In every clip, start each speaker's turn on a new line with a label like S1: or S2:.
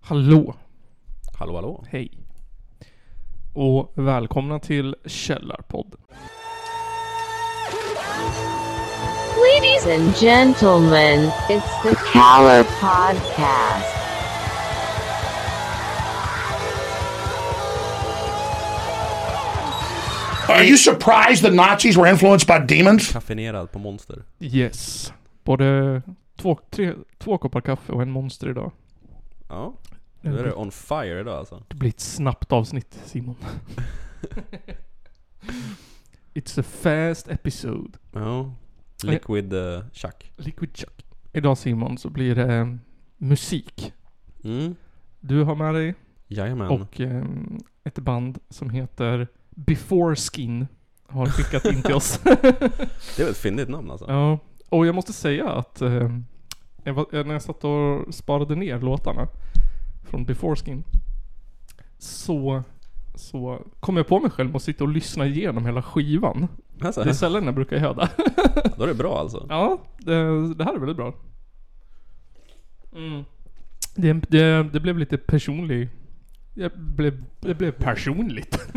S1: Hallå,
S2: Hallå hallå.
S1: hej. Och välkomna till Källarpodden.
S3: Ladies and gentlemen, it's the Caller Podcast.
S4: Are you surprised the Nazis were influenced by demons?
S2: Kaffinerad på Monster.
S1: Yes. Både två, tre, två koppar kaffe och en monster idag.
S2: Ja,
S1: Det
S2: nu är det
S1: blir-
S2: on fire idag alltså.
S1: det blir ett snabbt avsnitt, Simon. It's a fast episode.
S2: Ja. Liquid eh, Chuck.
S1: Liquid Chuck. Idag Simon så blir det eh, musik.
S2: Mm.
S1: Du har med dig
S2: Jajamän.
S1: och eh, ett band som heter Before Skin har skickat in till oss.
S2: Det är väl ett fyndigt namn alltså.
S1: Ja, och jag måste säga att eh, jag var, eh, när jag satt och sparade ner låtarna från Before Skin så, så kom jag på mig själv att sitta och lyssna igenom hela skivan.
S2: Alltså,
S1: Det är sällan jag brukar göra det.
S2: då är det bra alltså.
S1: Ja, det, det här är väldigt bra. Mm. Det, det, det blev lite personlig... Jag blev, det blev personligt.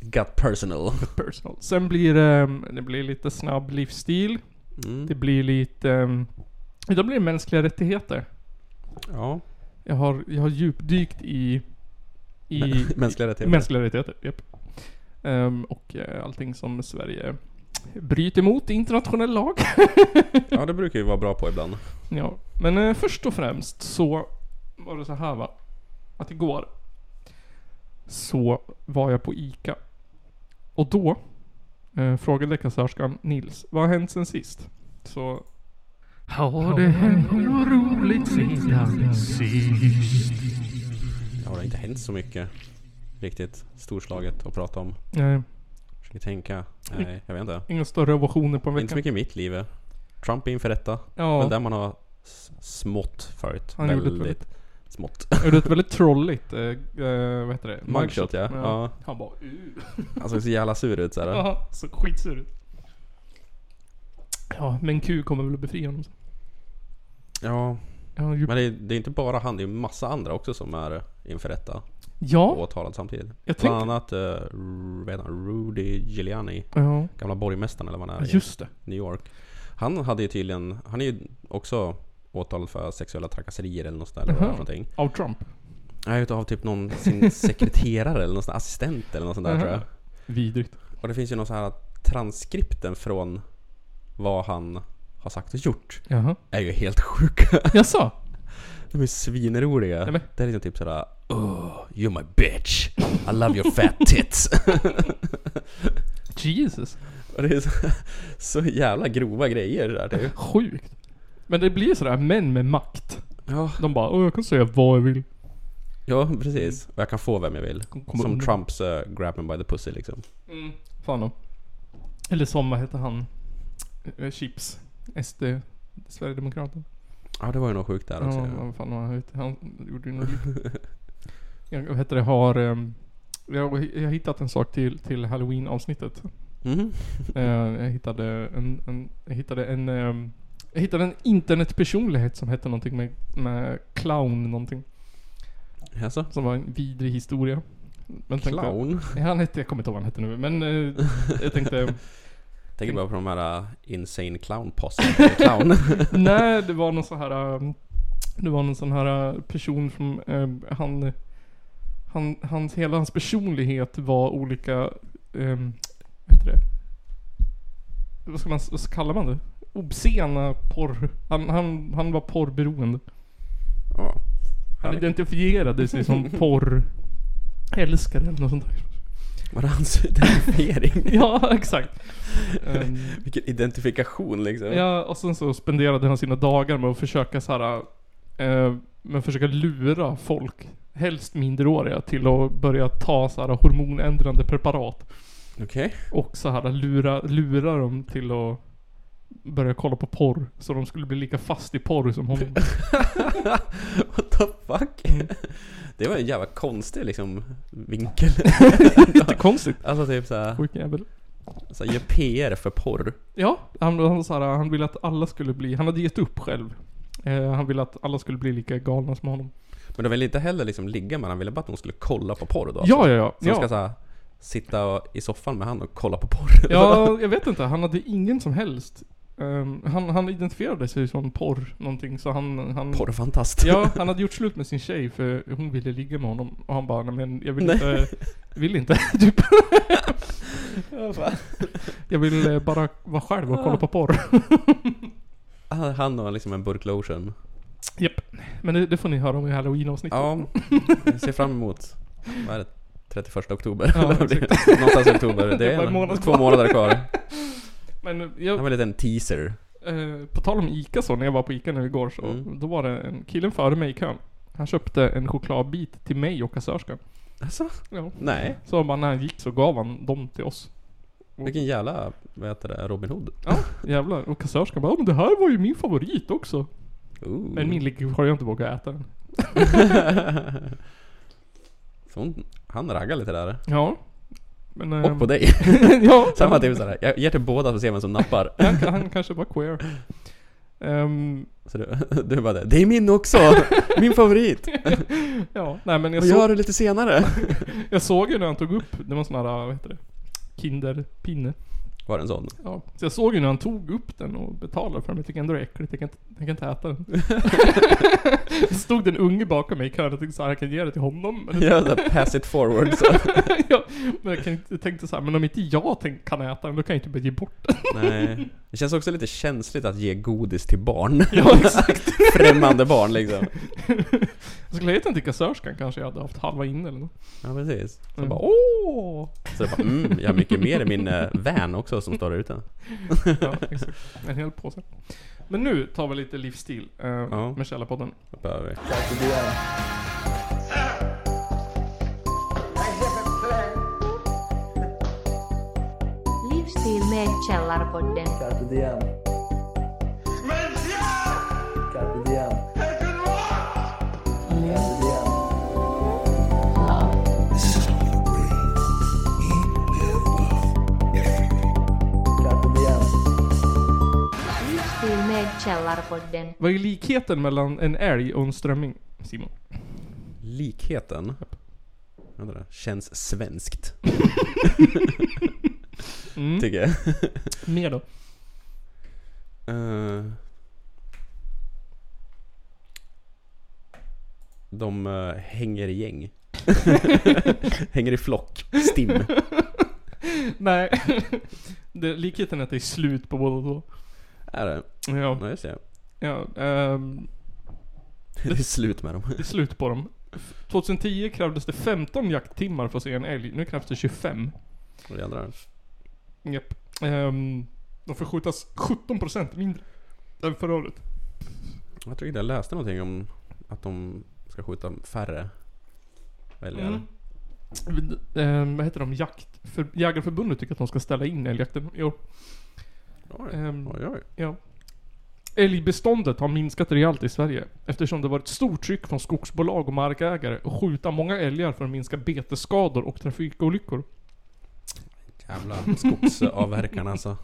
S2: Got personal.
S1: Personal. Sen blir ehm, det, det blir lite snabb livsstil. Det
S2: Mm.
S1: blir lite... ehm, Då blir det mänskliga rättigheter.
S2: Ja.
S1: Jag har, jag har djupdykt i... I
S2: Mänskliga rättigheter.
S1: mänskliga rättigheter, japp. Ehm, och eh, allting som Sverige bryter mot i internationell lag.
S2: Ja, det brukar ju vara bra på ibland.
S1: ja. Men eh, först och främst så var det så här va. Att igår så var jag på ICA. Och då eh, frågade kassörskan Nils, vad har hänt sen sist? Så... Har det hänt något roligt sedan
S2: Ja, det har inte hänt så mycket riktigt storslaget att prata om.
S1: Nej,
S2: Försöker tänka. Nej, jag vet inte.
S1: eh, inga större ovationer på en
S2: Inte så
S1: vecka.
S2: mycket i mitt liv. eh. Trump är inför rätta.
S1: Ja,
S2: Väl där man har s- smått förut.
S1: Han gjorde ett
S2: väldigt smått.
S1: det är ett väldigt trolligt, eh, eh, vad heter det?
S2: Mugshot ja. ja.
S1: Han bara uh.
S2: Han såg så jävla sur ut såhär.
S1: Aha, så skitsur ut. Ja, men Q kommer väl att befria honom sen.
S2: Ja,
S1: Ja, ju...
S2: men det är, det är inte bara han, det är massa andra också som är inför rätta och
S1: ja
S2: åtalad samtidigt.
S1: jag
S2: Bland
S1: tänkte...
S2: annat eh, vad heter han? Rudy Giuliani,
S1: Ja,
S2: gamla borgmästaren eller vad han är
S1: just det.
S2: i New York. Han hade ju tydligen, han är ju också åtalad för sexuella trakasserier eller något sånt där. eller vad det är
S1: Jaha.
S2: för någonting.
S1: Av Trump.
S2: Nej, utav typ någon sin sekreterare eller någon sån där assistent eller något sånt där
S1: Jaha.
S2: tror jag.
S1: Vidrigt.
S2: Och det finns ju någon sån här transkripten från vad han har sagt och gjort.
S1: Jaha.
S2: Är ju helt sjuka.
S1: Jaså?
S2: De är svinroliga.
S1: Nej, men-
S2: Det är liksom typ sådär oh, You're my bitch. I love your fat tits.
S1: Jesus.
S2: och det är så, så jävla grova grejer där typ.
S1: Sjukt. Men det blir sådär män med makt.
S2: Ja,
S1: De bara Åh, jag kan säga vad jag vill.
S2: ja precis. Och jag kan få vem jag vill.
S1: Kommer
S2: som
S1: undan.
S2: Trumps eh, grab me by the pussy liksom.
S1: Mm. Fan om. Eller som, vad heter han? Eh, Chips. SD. Sverigedemokraten.
S2: Ja, det var ju något sjukt där också.
S1: Ja,
S2: Ja,
S1: vad fan var han ute? Han gjorde ju något... jag, vad heter det, har... ehm, jag, jag har hittat en sak till, till halloween avsnittet.
S2: Mhm.
S1: Eh, jag hittade en... en jag hittade en... ehm, jag hittade en internetpersonlighet som hette någonting med, med clown någonting.
S2: Jaså?
S1: Som var en vidrig historia. Men tänkte-
S2: Clown?
S1: Ja, han hette, jag kommer inte ihåg vad han hette nu men eh, jag tänkte...
S2: Tänker bara på de här eh, insane clown possen Clown.
S1: Nej, det var någon sån här... um, Det var någon sån här uh, person som... um, Han... han hans, hela hans personlighet var olika... Um, vad heter det? Vad ska man vad ska- kallar man det? Obscena porr... Han, han, han var porrberoende.
S2: Ja.
S1: Han
S2: Härligt.
S1: identifierade sig som porr... Älskare eller något sånt där.
S2: Var det hans identifiering?
S1: Ja, exakt. Um,
S2: Vilken identifikation liksom.
S1: Ja, och sen så spenderade han sina dagar med att försöka så här, eh, med att försöka lura folk, helst minderåriga, till att börja ta så här hormonändrande preparat.
S2: Okej.
S1: Och så här lura, lura dem till att börja kolla på porr. Så de skulle bli lika fast i porr som honom.
S2: What the fuck?
S1: Mm.
S2: Det var en jävla konstig liksom vinkel.
S1: Jättekonstigt.
S2: Alltså typ såhär,
S1: Sjuk jävel.
S2: såhär gör PR för porr.
S1: Ja, han, han, så här, han ville att alla skulle bli, han hade gett upp själv. Eh, han ville att alla skulle bli lika galna som honom.
S2: Men de ville inte heller liksom ligga med han ville bara att hon skulle kolla på porr då? alltså.
S1: Ja, ja, ja.
S2: Så de
S1: ja.
S2: ska såhär, sitta och, i soffan med han och kolla på porr?
S1: Ja, jag vet inte. Han hade ingen som helst... ehm, han, han identifierade sig som porr någonting, så han... han
S2: Porrfantast.
S1: Ja, han hade gjort slut med sin tjej för hon ville ligga med honom. Och han bara, nej men jag vill
S2: Nej.
S1: inte... Vill inte. typ.
S2: Ja.
S1: Jag vill eh, bara vara själv och kolla på porr.
S2: Han och liksom en burk lotion.
S1: Japp. Men det, det får ni höra om i halloween-avsnittet.
S2: Ja, jag ser fram emot... Vad är det? 31 oktober?
S1: Ja,
S2: Eller vad blir det? Någonstans i oktober. Det
S1: Det är
S2: är
S1: bara en
S2: en,
S1: månad
S2: två
S1: kvar.
S2: månader kvar.
S1: Men eh,
S2: Det
S1: jag,
S2: var en liten teaser.
S1: eh, på tal om ICA så, när jag var på ICA nu igår så,
S2: Mm.
S1: då var det en killen före mig i kön. Han köpte en chokladbit till mig och kassörskan.
S2: Alltså?
S1: Ja.
S2: Nej.
S1: Så han bara, när han gick så gav han dem till oss.
S2: Vilken jävla, vad heter det, Robin Hood?
S1: Ja, jävlar. Och kassörskan bara, "Ja, men det här var ju min favorit också.
S2: Ooh.
S1: Men min ligger kvar, jag har inte vågat äta den.
S2: Så hon, han raggar lite där.
S1: Ja. Men, ehm,
S2: Och på dig.
S1: ja,
S2: Samma
S1: han-
S2: typ sådär. Jag ger till båda så ser vem som nappar.
S1: Han, han kanske var queer. Ehm,
S2: Så du, du bara det, det är min också! Min favorit!
S1: ja, nej men jag,
S2: Vad gör
S1: så,
S2: du lite senare?
S1: jag såg ju när han tog upp, det var en sån här, vad heter det? Kinderpinne.
S2: Var det en sån?
S1: Ja. Så jag såg ju när han tog upp den och betalade för den, men jag tycker ändå det är äckligt. Jag kan, inte- jag kan inte äta den. Det stod den unge bakom mig i kön och tänkte såhär, jag kan ge det till honom. Men,
S2: Ja, sådär, pass it forward så.
S1: jag, men jag, kan, inte- jag tänkte såhär, men om inte jag tänk, kan äta den, då kan jag inte bara ge bort den.
S2: Nej. Det känns också lite känsligt att ge godis till barn.
S1: Ja, exakt.
S2: Främmande barn liksom.
S1: Jag skulle jag gett den till kassörskan kanske jag hade haft halva in eller något.
S2: Ja precis. Så
S1: Mm.
S2: bara åh! Så det bara mm, jag har mycket mer i min eh, van också som står där ute.
S1: Ja, exakt. En hel påse. Men nu tar vi lite livsstil eh, med Källarpodden.
S2: Det behöver vi.
S3: Livsstil med Källarpodden.
S5: Carpe diem. Carpe diem. Carpe diem. Carpe diem.
S3: Livsstil med Källarpodden.
S1: Vad är likheten mellan en älg och en strömming, Simon?
S2: Likheten. Vänta där. Känns svenskt.
S1: Mm.
S2: Tycker jag.
S1: Mer då?
S2: Eh, de eh, hänger i gäng. hänger i flock. Stim.
S1: Nej. det, likheten är att det är slut på båda två.
S2: Är det?
S1: Ja.
S2: Ja, just det.
S1: ja ehm,
S2: Det är slut med dem.
S1: det är slut på dem. 2010 krävdes det 15 jakttimmar för att se en älg. Nu krävs det 25.
S2: Åh, jädrar.
S1: Japp. Ehm, de får skjutas 17% mindre än förra året.
S2: Jag tror inte jag läste någonting om att de ska skjuta färre väljare.
S1: Mm. Ehm, vad heter de? Jakt... För, Jägarförbundet tycker att de ska ställa in älgjakten i år.
S2: Oj,
S1: Ehm,
S2: oj, oj.
S1: Ja. Älgbeståndet har minskat rejält i Sverige eftersom det varit stort tryck från skogsbolag och markägare att skjuta många älgar för att minska betesskador och trafikolyckor.
S2: Jävla skogsavverkarna alltså.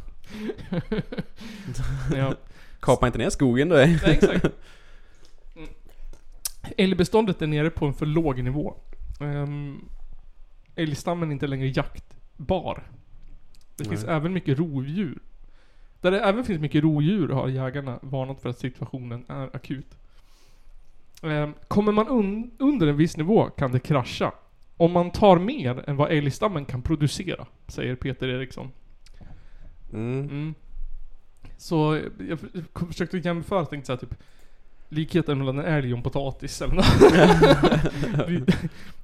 S1: Ja,
S2: Kapa inte ner skogen du. är.
S1: nej, exakt. Mm. Älgbeståndet är nere på en för låg nivå. Ehm, älgstammen är inte längre jaktbar. Det finns
S2: Nej.
S1: även mycket rovdjur. Där det även finns mycket rovdjur har jägarna varnat för att situationen är akut. Ehm, Kommer man un under en viss nivå kan det krascha. Om man tar mer än vad älgstammen kan producera, säger Peter Eriksson.
S2: Mm.
S1: Mm. Så eh, jag f- kom- försökte jämföra, tänkte såhär typ Likheten mellan en älg och en potatis eller nåt. Vi-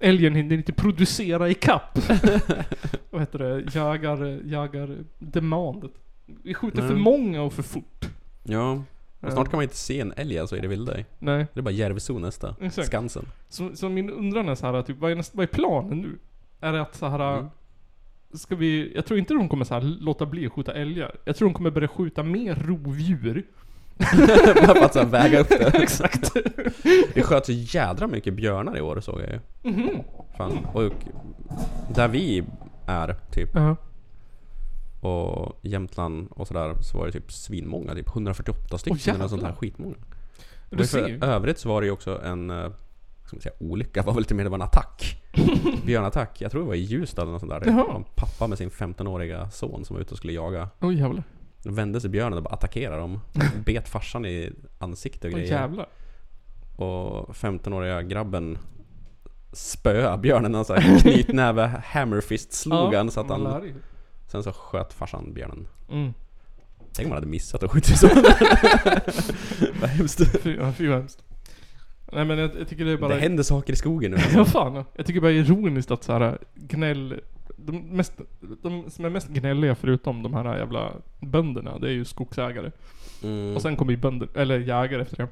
S1: Älgen hinner inte producera i kapp. Vad heter det? Jagar, jagar demandet. Vi skjuter för
S2: Nej.
S1: många och för fort.
S2: Ja. Och
S1: Eh,
S2: snart kan man inte se en älg alltså i det vilda.
S1: Nej.
S2: Det är bara Järvsö nästa.
S1: Exakt.
S2: Skansen.
S1: Så, så min undran är så här, typ, vad, är nästa, vad är planen nu? Är det att så här,
S2: Mm.
S1: ska vi, jag tror inte de kommer så här låta bli att skjuta älgar. Jag tror de kommer börja skjuta mer rovdjur.
S2: bara för att så här väga upp det. Exakt. det sköts så jädra mycket björnar i år såg jag ju.
S1: Mhm.
S2: Fan. Och där vi är typ och Jämtland och sådär så var det typ svinmånga. Typ 148 stycken
S1: Åh, jävlar.
S2: eller något sånt här skitmånga.
S1: Men
S2: Men
S1: du
S2: för
S1: ser ju.
S2: övrigt så var det ju också en... eh, Vad ska man säga? Olycka var väl lite mer, det var en attack. Björnattack. Jag tror det var i Ljusdal eller något sånt där. Det
S1: Jaha.
S2: var en pappa med sin 15-åriga son som var ute och skulle jaga.
S1: Åh jävlar.
S2: Då vände sig björnen och bara attackerade dem. Bet farsan i ansiktet och
S1: Åh
S2: grejer.
S1: jävlar.
S2: Och 15-åriga grabben spöa björnen. Han så här knytnäve hammerfist slog han så att
S1: man
S2: han...
S1: lär ju.
S2: Sen så sköt farsan björnen.
S1: Mm.
S2: Tänk om man hade missat och skjutit så. Vad hemskt.
S1: Fy, ja, fy vad hemskt. Nej men jag, jag tycker det är bara...
S2: Det händer saker i skogen nu.
S1: Ja fan. Jag tycker bara det är ironiskt att så här gnäll... De, mest, de som är mest gnälliga förutom de här jävla bönderna, det är ju skogsägare.
S2: Mm.
S1: Och sen kommer ju bönder, eller jägare efter det.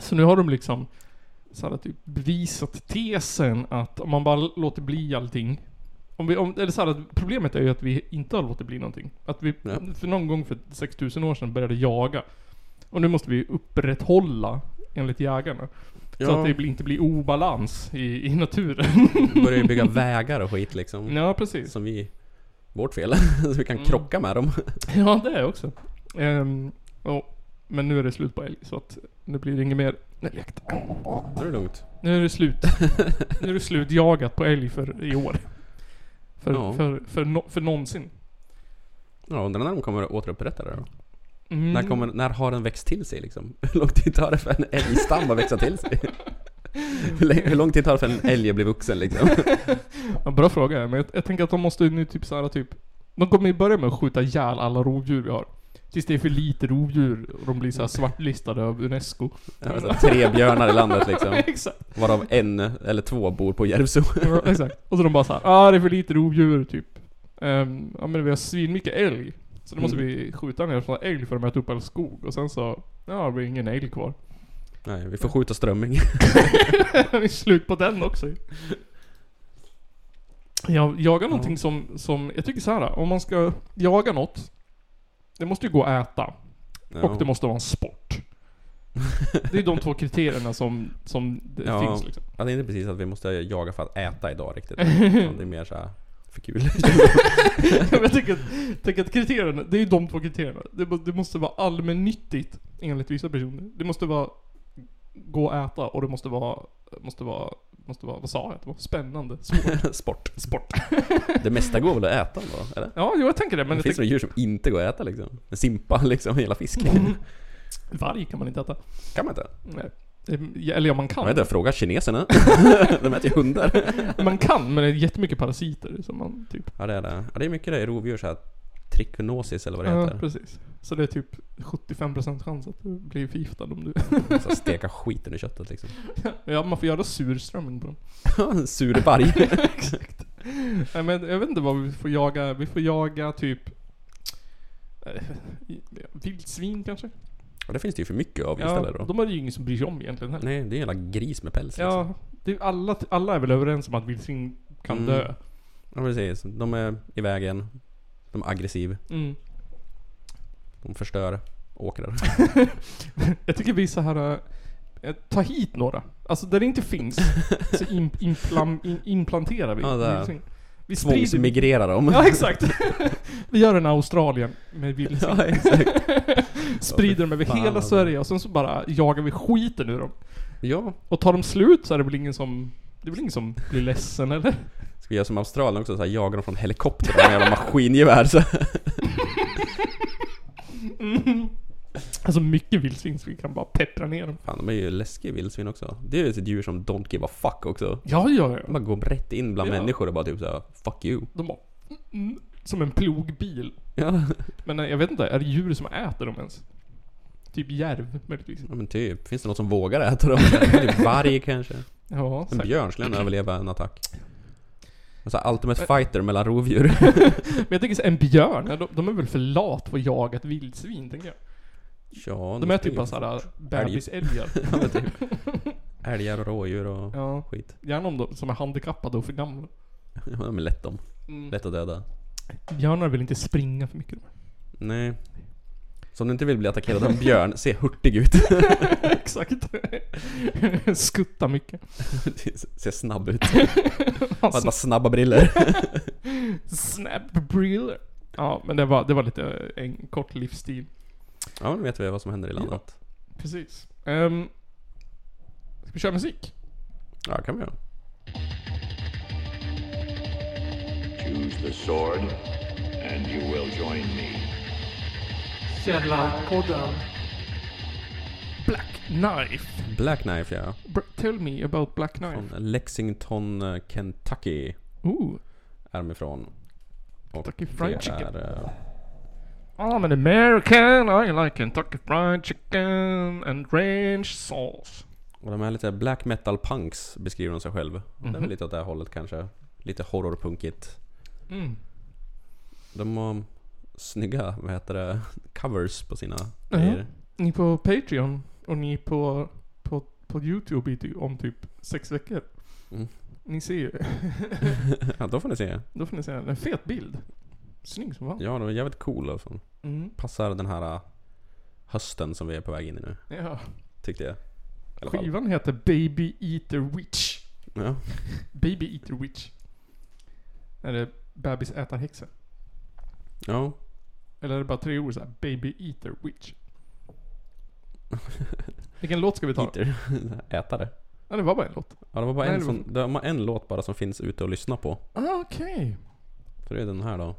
S1: Så nu har de liksom så här, typ bevisat tesen att om man bara låter bli allting. Om vi, om, eller så här, att problemet är ju att vi inte har låtit bli någonting. Att vi
S2: Ja.
S1: för någon gång för 6000 år sedan började jaga. Och nu måste vi upprätthålla enligt jägarna. Så
S2: Ja.
S1: att det blir- inte blir obalans i, i naturen.
S2: börjar ju bygga vägar och skit liksom.
S1: ja, Mm. precis.
S2: Som vi... Vårt fel. så vi kan krocka med dem.
S1: Ja, det är jag också. Ehm, och, men nu är det slut på älg, så att nu blir det inget mer jakt.
S2: Då är det lugnt.
S1: Nu är det slut. nu är det slut jagat på älg för i år. För,
S2: Ja.
S1: för, för, no, för någonsin.
S2: Ja, undrar när de kommer återupprätta det då?
S1: Mm.
S2: När, kommer, när har den växt till sig liksom? Hur lång tid tar det för en älgstam att växa till sig? Hur länge- Hur lång tid tar det för en älg att bli vuxen liksom?
S1: Ja, bra fråga. Men jag, jag tänker att de måste ju nu typ såhär typ... De kommer ju börja med att skjuta ihjäl alla rovdjur vi har. Tills det är för lite rovdjur och de blir
S2: Mm.
S1: såhär svartlistade av UNESCO.
S2: Ja, men så här, Alltså, Tre björnar i landet liksom.
S1: Exakt.
S2: Varav en eller två bor på Järvsö.
S1: Ja, Exakt. Och så de bara såhär, ah det är för lite rovdjur typ. Ehm, ja men vi har svinmycket älg. Så då måste
S2: Mm.
S1: vi skjuta ner såna älg för att äta upp all skog. Och sen så, ja det blir ingen älg kvar.
S2: Nej, vi får skjuta strömming.
S1: Det är slut på den också ju. Jag jagar någonting som, som, jag tycker så här. om man ska jaga något. Det måste ju gå att äta.
S2: Ja.
S1: Och det måste vara en sport. Det är de två kriterierna som, som det
S2: Ja.
S1: finns liksom.
S2: Ja, det är inte precis att vi måste jaga för att äta idag riktigt. Utan Det är mer såhär, för kul. Ja,
S1: Men jag tänker att, tänker att kriterierna, det är ju de två kriterierna. Det, må- det måste vara allmännyttigt enligt vissa personer. Det måste vara gå och äta och det måste vara, måste vara, måste vara, vad sa jag? Det var spännande, svårt,
S2: Sport.
S1: sport.
S2: Det mesta går väl att äta då, eller?
S1: Ja, jo, jag tänker det. Men
S2: det
S1: jag
S2: finns
S1: tänker,
S2: några djur som inte går att äta liksom. En simpa liksom, hela fisk.
S1: Mm. varg kan man inte äta.
S2: Kan man inte?
S1: Nej. Det- Eller ja, man
S2: Jag
S1: kan.
S2: vet inte, fråga kineserna. De äter ju hundar.
S1: Man kan, men det är jättemycket parasiter som man typ...
S2: Ja det är det. Ja, det är mycket det i rovdjur såhär, trichinosis eller vad det
S1: Ja,
S2: heter.
S1: precis. Så det är typ 75% chans att du blir förgiftad om du...
S2: Så här, steka skiten ur köttet liksom.
S1: ja, man får göra surströmming på dem.
S2: en sur varg.
S1: Exakt. Nej men jag vet inte vad vi får jaga. Vi får jaga typ... eh, Vildsvin kanske?
S2: Och det finns det ju för mycket av
S1: Ja,
S2: istället då.
S1: de har ju ingen som bryr sig om egentligen heller.
S2: Nej, det är en jävla gris med päls liksom.
S1: Ja, det, är- alla, alla är väl överens om att vildsvin kan
S2: Mm.
S1: dö.
S2: ja precis. De är i vägen. De är aggressiv.
S1: Mm.
S2: De förstör åkrar.
S1: Jag tycker vi så här... eh, Ta hit några. Alltså där det inte finns så im, implam, in, implanterar vi
S2: Ja, där.
S1: vildsvin. Vi sprider...
S2: Tvångsmigrerar dem.
S1: Ja exakt. vi gör en Australien med vildsvin.
S2: Ja, exakt.
S1: Sprider dem över
S2: Fan,
S1: hela
S2: alltså.
S1: Sverige och sen så bara jagar vi skiten ur dem.
S2: Ja.
S1: Och tar de slut så är det väl ingen som... Det är väl ingen som blir ledsen eller?
S2: Ska vi göra som Australien också, så här, jaga dem från helikopter med jävla maskingevär så.
S1: Alltså mycket vildsvin så vi kan bara peppra ner dem.
S2: Fan, de är ju läskiga vildsvin också. Det är ju ett djur som don't give a fuck också.
S1: Ja, ja,
S2: De
S1: ja.
S2: bara går rätt in bland
S1: Ja.
S2: människor och bara typ såhär, fuck you.
S1: De bara... Mm, som en plogbil.
S2: Ja,
S1: Men eh, jag vet inte, är det djur som äter dem ens? Typ järv möjligtvis.
S2: men typ. Finns det något som vågar äta dem? typ varg kanske?
S1: Ja,
S2: En
S1: säkert.
S2: björn skulle gärna överleva en attack. En sån här ultimate fighter mellan rovdjur.
S1: Men jag tänker så, en björn, ja, de, de är väl för lat för att jaga ett vildsvin tänker jag.
S2: ja,
S1: De är typ bara såhär bebisälgar.
S2: Ja, typ. Älgar och rådjur och
S1: Ja,
S2: skit.
S1: gärna om de som är handikappade och för gamla. Mm.
S2: Ja, de är lätt om. Lätt att döda.
S1: Björnar vill inte springa för mycket.
S2: Nej. Så om du inte vill bli attackerad av en björn, se hurtig ut.
S1: Exakt. Skutta mycket.
S2: se snabb ut. Ha ett
S1: Alltså,
S2: par snabba briller.
S1: snap briller. Ja, men det var, det var lite eh, en kort livsstil.
S2: Ja, nu vet vi vad som händer i landet.
S1: Precis. Ehm, ska vi köra musik?
S2: Ja, kan vi göra.
S6: Choose the sword, and you will join me.
S1: Black Knife.
S2: Black Knife ja.
S1: Br- tell me about Black Knife.
S2: Från Lexington, eh, Kentucky
S1: Ooh,
S2: är de ifrån. Och
S1: Kentucky Fried
S2: det
S1: Chicken.
S2: är, eh,
S1: I'm an American, I like Kentucky Fried Chicken and ranch sauce.
S2: och de är lite black metal punks beskriver de sig själv. Det
S1: Mhm.
S2: är väl lite åt det här hållet kanske. Lite horrorpunkigt.
S1: Mm.
S2: De har snygga, vad heter det, covers på sina
S1: Ja.
S2: grejer.
S1: Ni på Patreon och ni på, på, på YouTube i ty- om typ sex veckor.
S2: Mm.
S1: Ni ser ju.
S2: Ja, då får ni se.
S1: Då får ni se en fet bild. Snygg som fan.
S2: Ja, de är jävligt coola. Alltså.
S1: Mm.
S2: Passar den här eh, hösten som vi är på väg in i nu,
S1: Ja.
S2: tyckte jag. I alla fall.
S1: Skivan heter Baby Eater Witch.
S2: Ja.
S1: Baby Eater Witch. Är det bebis ätar häxa?
S2: ja,
S1: Eller är det bara tre ord såhär? Baby Eater Witch. Vilken låt ska vi ta?
S2: Eater. Ätare.
S1: Ja, det var bara en låt.
S2: Ja, det var bara
S1: Nej,
S2: en,
S1: det var-
S2: som, de har en låt bara som finns ute och lyssna på.
S1: Ah, okej.
S2: Så det är den här då.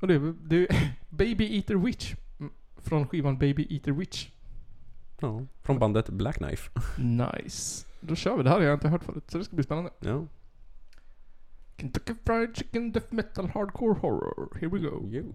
S1: Och det, det Baby Eater Witch. Mm, Från skivan Baby Eater Witch.
S2: Ja, från bandet Black Knife.
S1: Nice. Då kör vi. Det här har jag inte hört förut, så det ska bli spännande.
S2: Ja.
S1: Kentucky Fried Chicken Death Metal Hardcore Horror. Here we go.
S2: Jo.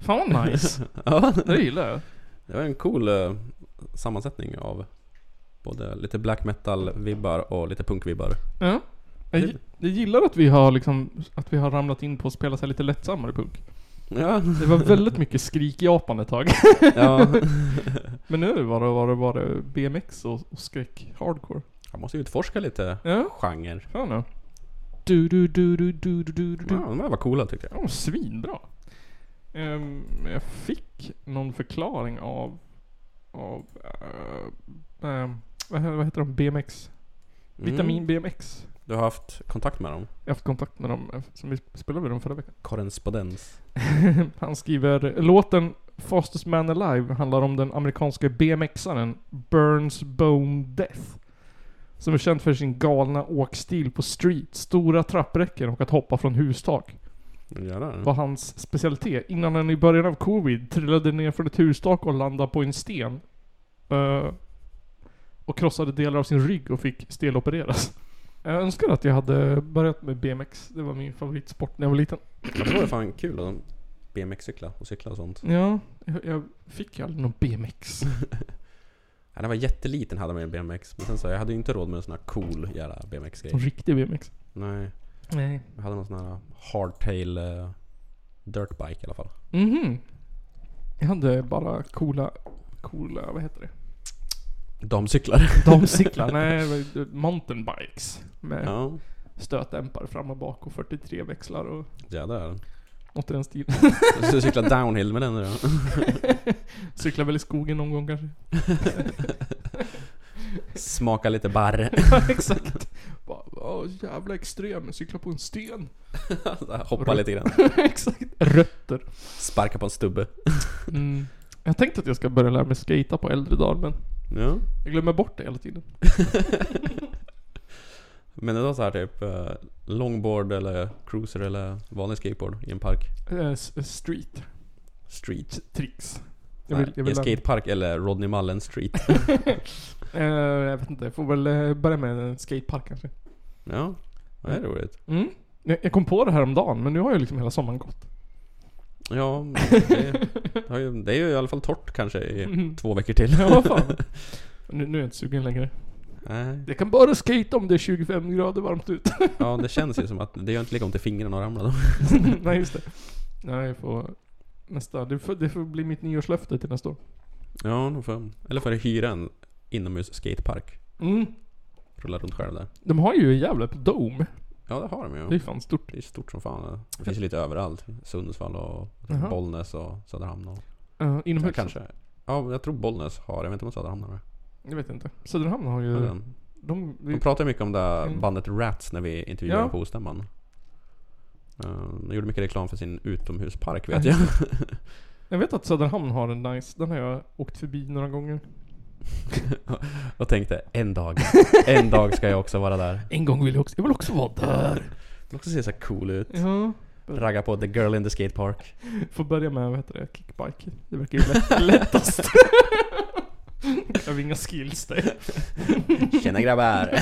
S1: Fan vad nice.
S2: Ja,
S1: det gillar jag.
S2: det var en cool eh, sammansättning av både lite black metal-vibbar och lite punk-vibbar.
S1: Ja. Jag, gi- jag gillar att vi har liksom, att vi har ramlat in på att spela sig lite lättsammare punk.
S2: Ja.
S1: Det var väldigt mycket skrik i Japan ett tag.
S2: ja.
S1: Men nu var det, var det, var det BMX och, och skräck hardcore.
S2: Jag måste utforska lite
S1: Ja,
S2: genre.
S1: fan ja. Du, du, du, du, du, du, du, du,
S2: Ja,
S1: du.
S2: de här var coola tyckte jag.
S1: Ja, svinbra. Ehm, jag fick någon förklaring av av... eh, eh, vad he- vad heter de? BMX?
S2: Mm.
S1: Vitamin BMX.
S2: Du har haft kontakt med dem?
S1: Jag har haft kontakt med dem, eh, som vi spelade med dem förra veckan.
S2: Korrespondens?
S1: Han skriver låten Fastest Man Alive handlar om den amerikanska BMX-aren Burns Bone Death. Som är känd för sin galna åkstil på street, stora trappräcken och att hoppa från hustak.
S2: Jävlar.
S1: var hans specialitet innan han i början av covid trillade ner från ett hustak och landade på en sten. Eh, och krossade delar av sin rygg och fick stelopereras. Jag önskar att jag hade börjat med BMX. Det var min favoritsport när jag var liten.
S2: Ja, det var ju fan kul att BMX-cykla och cykla och sånt.
S1: Ja, jag, jag fick ju aldrig någon BMX.
S2: Ja, när jag var jätteliten hade man ju en BMX. Men sen så, jag hade ju inte råd med en sån här cool jävla
S1: Någon
S2: BMX-grej.
S1: riktig BMX.
S2: Nej.
S1: Nej.
S2: Jag hade någon sån här hardtail eh, dirtbike i alla fall.
S1: Mhm. Jag hade bara coola, coola, vad heter det?
S2: Damcyklar.
S1: Damcyklar? Nej, det var- mountainbikes. Med
S2: Ja.
S1: stötdämpare fram och bak och 43 växlar och
S2: Jädrar.
S1: något i den stilen.
S2: Så du cyklar downhill med den nu då?
S1: Cyklar väl i skogen någon gång kanske?
S2: Smaka lite barr.
S1: Ja, exakt. Bara, åh, jävla extrem, cykla på en sten.
S2: Så här, Hoppa lite grann.
S1: exakt. Rötter.
S2: Sparka på en stubbe.
S1: Mm. Jag tänkte att jag ska börja lära mig skata på äldre dagar men
S2: Ja.
S1: jag glömmer bort det hela tiden.
S2: Men det var så här typ eh, longboard eller cruiser eller vanlig skateboard i en park.
S1: Eh, s- street
S2: Street.
S1: tricks. Jag
S2: Jag
S1: vill, jag vill
S2: I en
S1: lära-
S2: skatepark eller Rodney Mullen Street.
S1: Eh, jag vet inte, jag får väl eh, börja med en skatepark kanske.
S2: ja. Det är roligt.
S1: Mm. Jag jag kom på det här om dagen men nu har ju liksom hela sommaren gått.
S2: Ja, men det, det har ju, det är ju i alla fall torrt kanske i
S1: Mm.
S2: två veckor till.
S1: Ja, vad fan. Nu, nu är jag inte sugen längre.
S2: Nej.
S1: Jag kan bara skate om det är 25 grader varmt ute.
S2: Ja, det känns ju som att det gör inte lika ont i fingrarna att ramla då.
S1: Nej just det. Nej jag får nästa. Det får, det får bli mitt nyårslöfte till nästa år.
S2: Ja, då får, eller får du hyra en inomhus skatepark.
S1: Mm.
S2: Rulla runt själv där.
S1: De har ju i Gävle på Dome.
S2: Ja, det har de
S1: Det är
S2: ju.
S1: fan stort.
S2: Det är stort som fan. Det finns ju lite överallt. Sundsvall och
S1: Jaha.
S2: Bollnäs och Söderhamn och...
S1: Uh,
S2: Ja,
S1: inomhus.
S2: kanske. Ja, jag tror Bollnäs har Jag vet inte om Söderhamn har det.
S1: Jag vet inte. Söderhamn har ju...
S2: Har den?
S1: De,
S2: De pratade mycket om det här
S1: Mm.
S2: bandet Rats när vi intervjuade
S1: Ja.
S2: på Ostämman. Eh, De gjorde mycket reklam för sin utomhuspark vet jag.
S1: jag vet att Söderhamn har en nice. Den har jag åkt förbi några gånger.
S2: och tänkte en dag, en dag ska jag också vara där.
S1: En gång vill jag också... Jag vill också vara där.
S2: Det vill också se så här cool ut.
S1: Ja.
S2: Ragga på the girl in the skatepark.
S1: Får börja med, vad heter det? Kickbike. Det verkar ju lätt, lättast. jag har inga skills där.
S2: Tjena grabbar!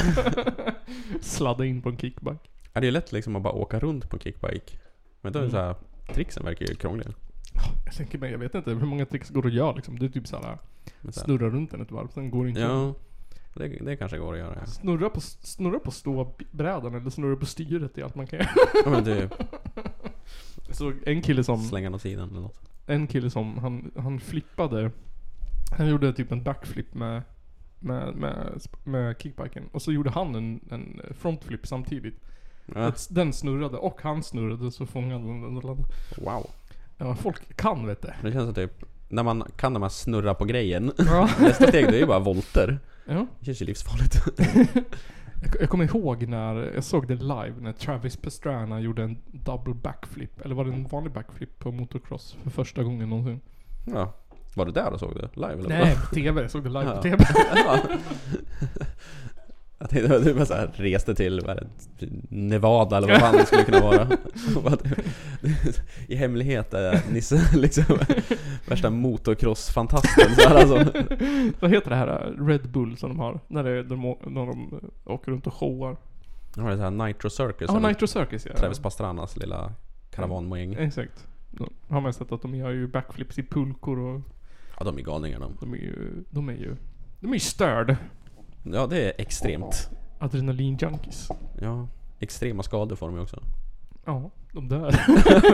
S1: Sladda in på en kickbike.
S2: Ja, det är lätt liksom att bara åka runt på en kickbike. Men då
S1: Mm.
S2: är det så här, trixen verkar ju krånglig.
S1: Jag tänker mig, jag vet inte hur många tricks går att göra liksom. Det är typ såhär,
S2: Men så här,
S1: snurra runt den ett varv, sen går det inte.
S2: ja, det, det kanske går att göra. ja.
S1: Snurra på, snurra på ståbrädan eller snurra på styret är allt man kan göra.
S2: Ja, men typ
S1: Jag såg en kille som,
S2: slänga den åt sidan eller något.
S1: en kille som, han, han flippade. Han gjorde typ en backflip med, med, med, med kickbiken. Och så gjorde han en, en frontflip samtidigt.
S2: Ja,
S1: Att Den snurrade och han snurrade så fångade den den och landade.
S2: wow.
S1: Ja, folk kan vet du.
S2: Det känns som typ, när man kan de här snurra på grejen.
S1: Ja.
S2: Nästa steg det är ju bara volter.
S1: ja.
S2: Det känns ju livsfarligt.
S1: Jag, jag kommer ihåg när jag såg det live när Travis Pastrana gjorde en double backflip. Eller var det en vanlig backflip på motocross för första gången någonsin?
S2: Ja. Var du där och såg det? Live eller?
S1: Nej, på TV. Jag såg det live
S2: Ja.
S1: på TV.
S2: Ja. Jag tänkte att du bara så här reste till vad är det, Nevada eller vad fan det skulle kunna vara. Och bara typ- I hemlighet är Nisse liksom värsta motocrossfantasten. Så här, alltså.
S1: Vad heter det här eh, Red Bull som de har? När, det, de, å- när de eh, åker runt och showar.
S2: Det var det så här Nitro Circus.
S1: Ja,
S2: eller
S1: Nitro Circus ja.
S2: Travis Pastranas lilla karavanmoäng.
S1: Exakt. De har man sett att de gör ju backflips i pulkor och
S2: Ja, de är galningar de.
S1: de är ju... De är ju... De är ju störd.
S2: Ja, det är extremt.
S1: Adrenalin-junkies.
S2: Ja, extrema skador får de ju också.
S1: Ja, de där.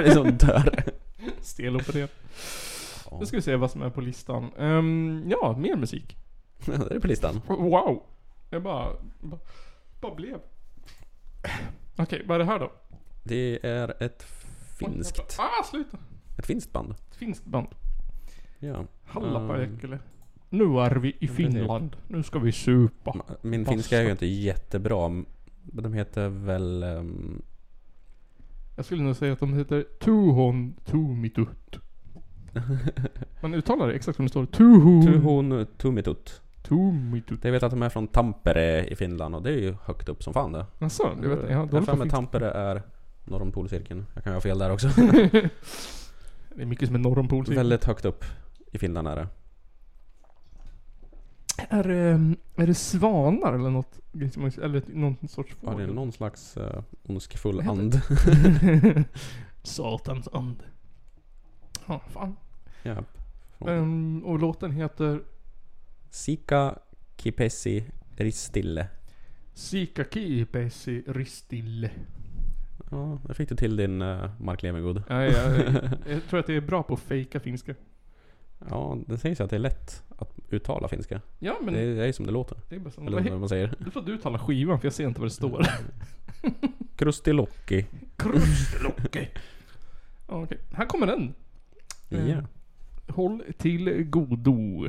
S2: det är som dör.
S1: Stelopererade.
S2: Ja.
S1: Nu ska vi se vad som är på listan. Ehm, ja, mer musik.
S2: Det är på listan.
S1: Wow! Jag bara... Bara, bara blev. Okej, vad är det här då?
S2: Det är ett finskt,
S1: Ah, sluta!
S2: ett finskt band.
S1: Ett finskt band.
S2: Ja. Ehm,
S1: Hallapäikkele. Nu är vi i Finland. Nu ska vi supa.
S2: Min
S1: Pasta.
S2: finska är ju inte jättebra. men De heter väl... ehm,
S1: Jag skulle nog säga att de heter Tuhon Tumitut. Man uttalar det exakt som det står. Tuhon
S2: Tuhon Tumitut.
S1: Tumitut.
S2: Jag vet att de är från Tampere i Finland och det är ju högt upp som fan det.
S1: Jaså, du vet, jag har
S2: jag har
S1: dålig
S2: för
S1: på
S2: mig
S1: finska.
S2: Tampere är norr om polcirkeln. Jag kan ju ha fel där också.
S1: Det är mycket som är typ. norr om polcirkeln.
S2: Väldigt högt upp i Finland är det.
S1: Är, det- är det svanar eller något? Eller någon sorts
S2: Ja, det är
S1: fågel?
S2: någon slags eh, ondskefull
S1: Vad heter
S2: and.
S1: Satans ande. Ja, fan.
S2: ja. Från
S1: Ehm, och låten heter
S2: Sika Kipesi Ristille.
S1: Sikaki Pessi Ristille.
S2: Ja, där fick du till din uh, Mark Levengood.
S1: Ja, jag, jag tror att det är bra på att fejka finska.
S2: Ja, det sägs ju att det är lätt att uttala finska.
S1: Ja, men
S2: Det är, det är ju som det låter.
S1: det är bara så.
S2: Eller
S1: Vad
S2: vad
S1: he-
S2: man säger.
S1: Nu får du tala skivan för jag ser inte vad det står.
S2: Krustilocki.
S1: Krustlocke. Okej, här kommer den.
S2: Ja.
S1: Mm. Håll till godo.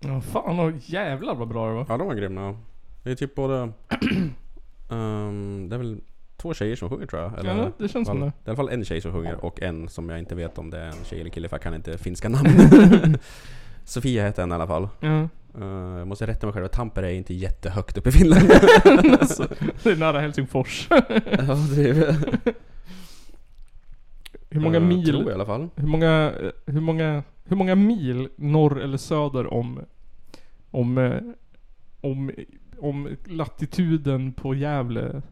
S1: Ja, fan och jävlar vad bra det var.
S2: Ja, de var grymma. Det är typ både... Ehm, det är väl två tjejer som sjunger tror jag.
S1: Ja, det känns som
S2: det.
S1: det.
S2: är I alla fall en tjej som sjunger och en som jag inte vet om det är en tjej eller kille för jag kan inte finska namn. Sofia heter en i alla fall.
S1: Ja.
S2: Eh, jag måste rätta mig själv, Tampere är inte jättehögt upp i Finland.
S1: Det är nära Helsingfors.
S2: ja, det är Eh,
S1: Hur många
S2: Tror jag i
S1: mil?
S2: alla fall.
S1: Hur många, eh, hur många, hur många mil norr eller söder om, om, eh, om, om latituden på Gävle?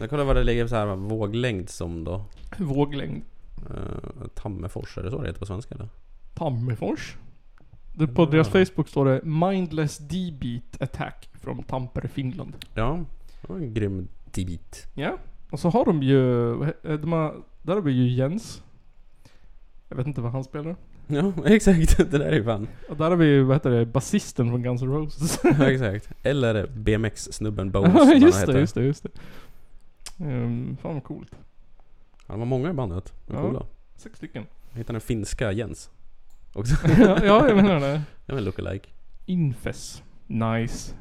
S2: Jag kollar vad det ligger så här med våglängd som då.
S1: Våglängd?
S2: Uh, Tammerfors, är det så det heter på svenska eller?
S1: Tammerfors? Det, på
S2: Ja.
S1: deras Facebook står det Mindless D-beat attack från Tampere, Finland.
S2: Ja, det var en grym debit.
S1: Ja. Och så har de ju, vad he- de har, där har vi ju Jens. Jag vet inte vad han spelar.
S2: Ja, exakt. Det där är ju fan.
S1: Och där har vi ju, vad heter det, basisten från Guns N' Roses.
S2: Ja, exakt. Eller BMX-snubben Bones. som
S1: Ja,
S2: han
S1: just det,
S2: heter.
S1: just det, just det. Ehm, fan vad coolt.
S2: Han var många i bandet. De var
S1: Ja.
S2: coola.
S1: Sex stycken.
S2: Jag hittade den finska Jens. Också.
S1: ja, ja, jag menar det.
S2: Det var en lookalike.
S1: Infes. Nice.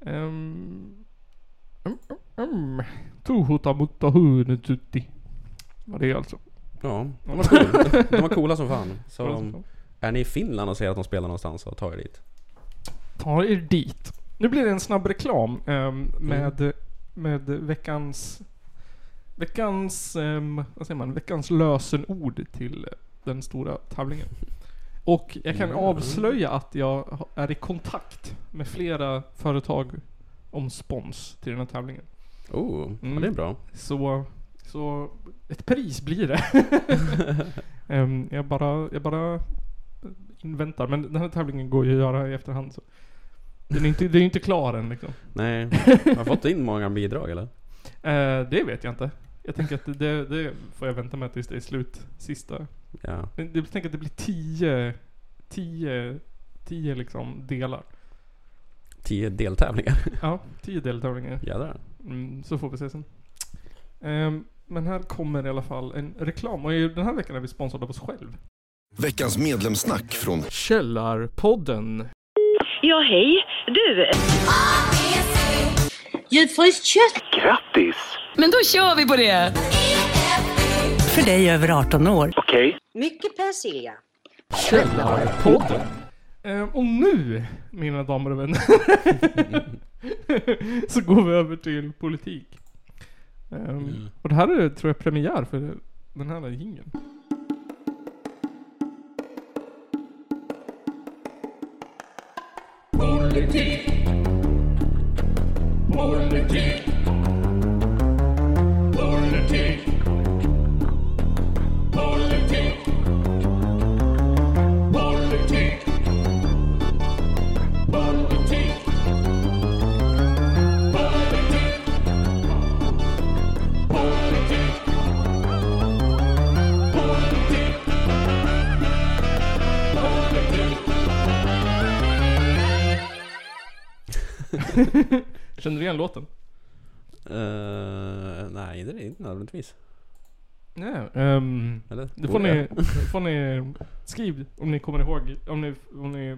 S1: Um, um, um. Tuhuta mutta huunetutti. Vad det är alltså.
S2: Ja, de var coola. De var coola som fan. Så
S1: De...
S2: är ni i Finland och ser att de spelar någonstans så ta er dit.
S1: Ta er dit. Nu blir det en snabb reklam ehm, med, med veckans... Veckans... ehm, vad säger man? Veckans lösenord till eh, den stora tävlingen. Och jag kan
S2: Mm.
S1: avslöja att jag ha- är i kontakt med flera företag om spons till den här tävlingen.
S2: Oh,
S1: Mm.
S2: ja, det är bra.
S1: Så, så ett pris blir det. Ehm, jag, bara, jag bara inväntar. Men den här tävlingen går ju att göra i efterhand. Så. Den är inte, det är ju inte klar än liksom.
S2: Nej. Har jag fått in många bidrag eller?
S1: Eh, det vet jag inte. Jag tänker att det, det får jag vänta med tills det är slut. Sista.
S2: Ja.
S1: Men Jag tänker att det blir tio, tio, tio liksom delar.
S2: Tio deltävlingar.
S1: Ja, tio deltävlingar.
S2: Jädrar.
S1: Mm, så får vi se sen. Ehm, men här kommer i alla fall en reklam. Och i den här veckan är vi sponsrade av oss själv.
S7: Veckans medlemssnack från
S1: Källarpodden.
S8: Ja, hej. Du,
S3: Ljudfryst kött!
S9: Men då kör vi på det! För dig över 18 år.
S3: Mycket persilja.
S1: Källarpodden. Ehm, och nu, mina damer och vänner, så går vi över till politik. Ehm, Och det här är, tror jag, premiär för den här jingeln. Känner du igen låten?
S2: Eh, nej, det är det inte nödvändigtvis.
S1: Nej. ehm,
S2: Eller?
S1: Det får
S2: Borde
S1: ni,
S2: jag?
S1: det får ni skriv om ni kommer ihåg. Om ni, om ni,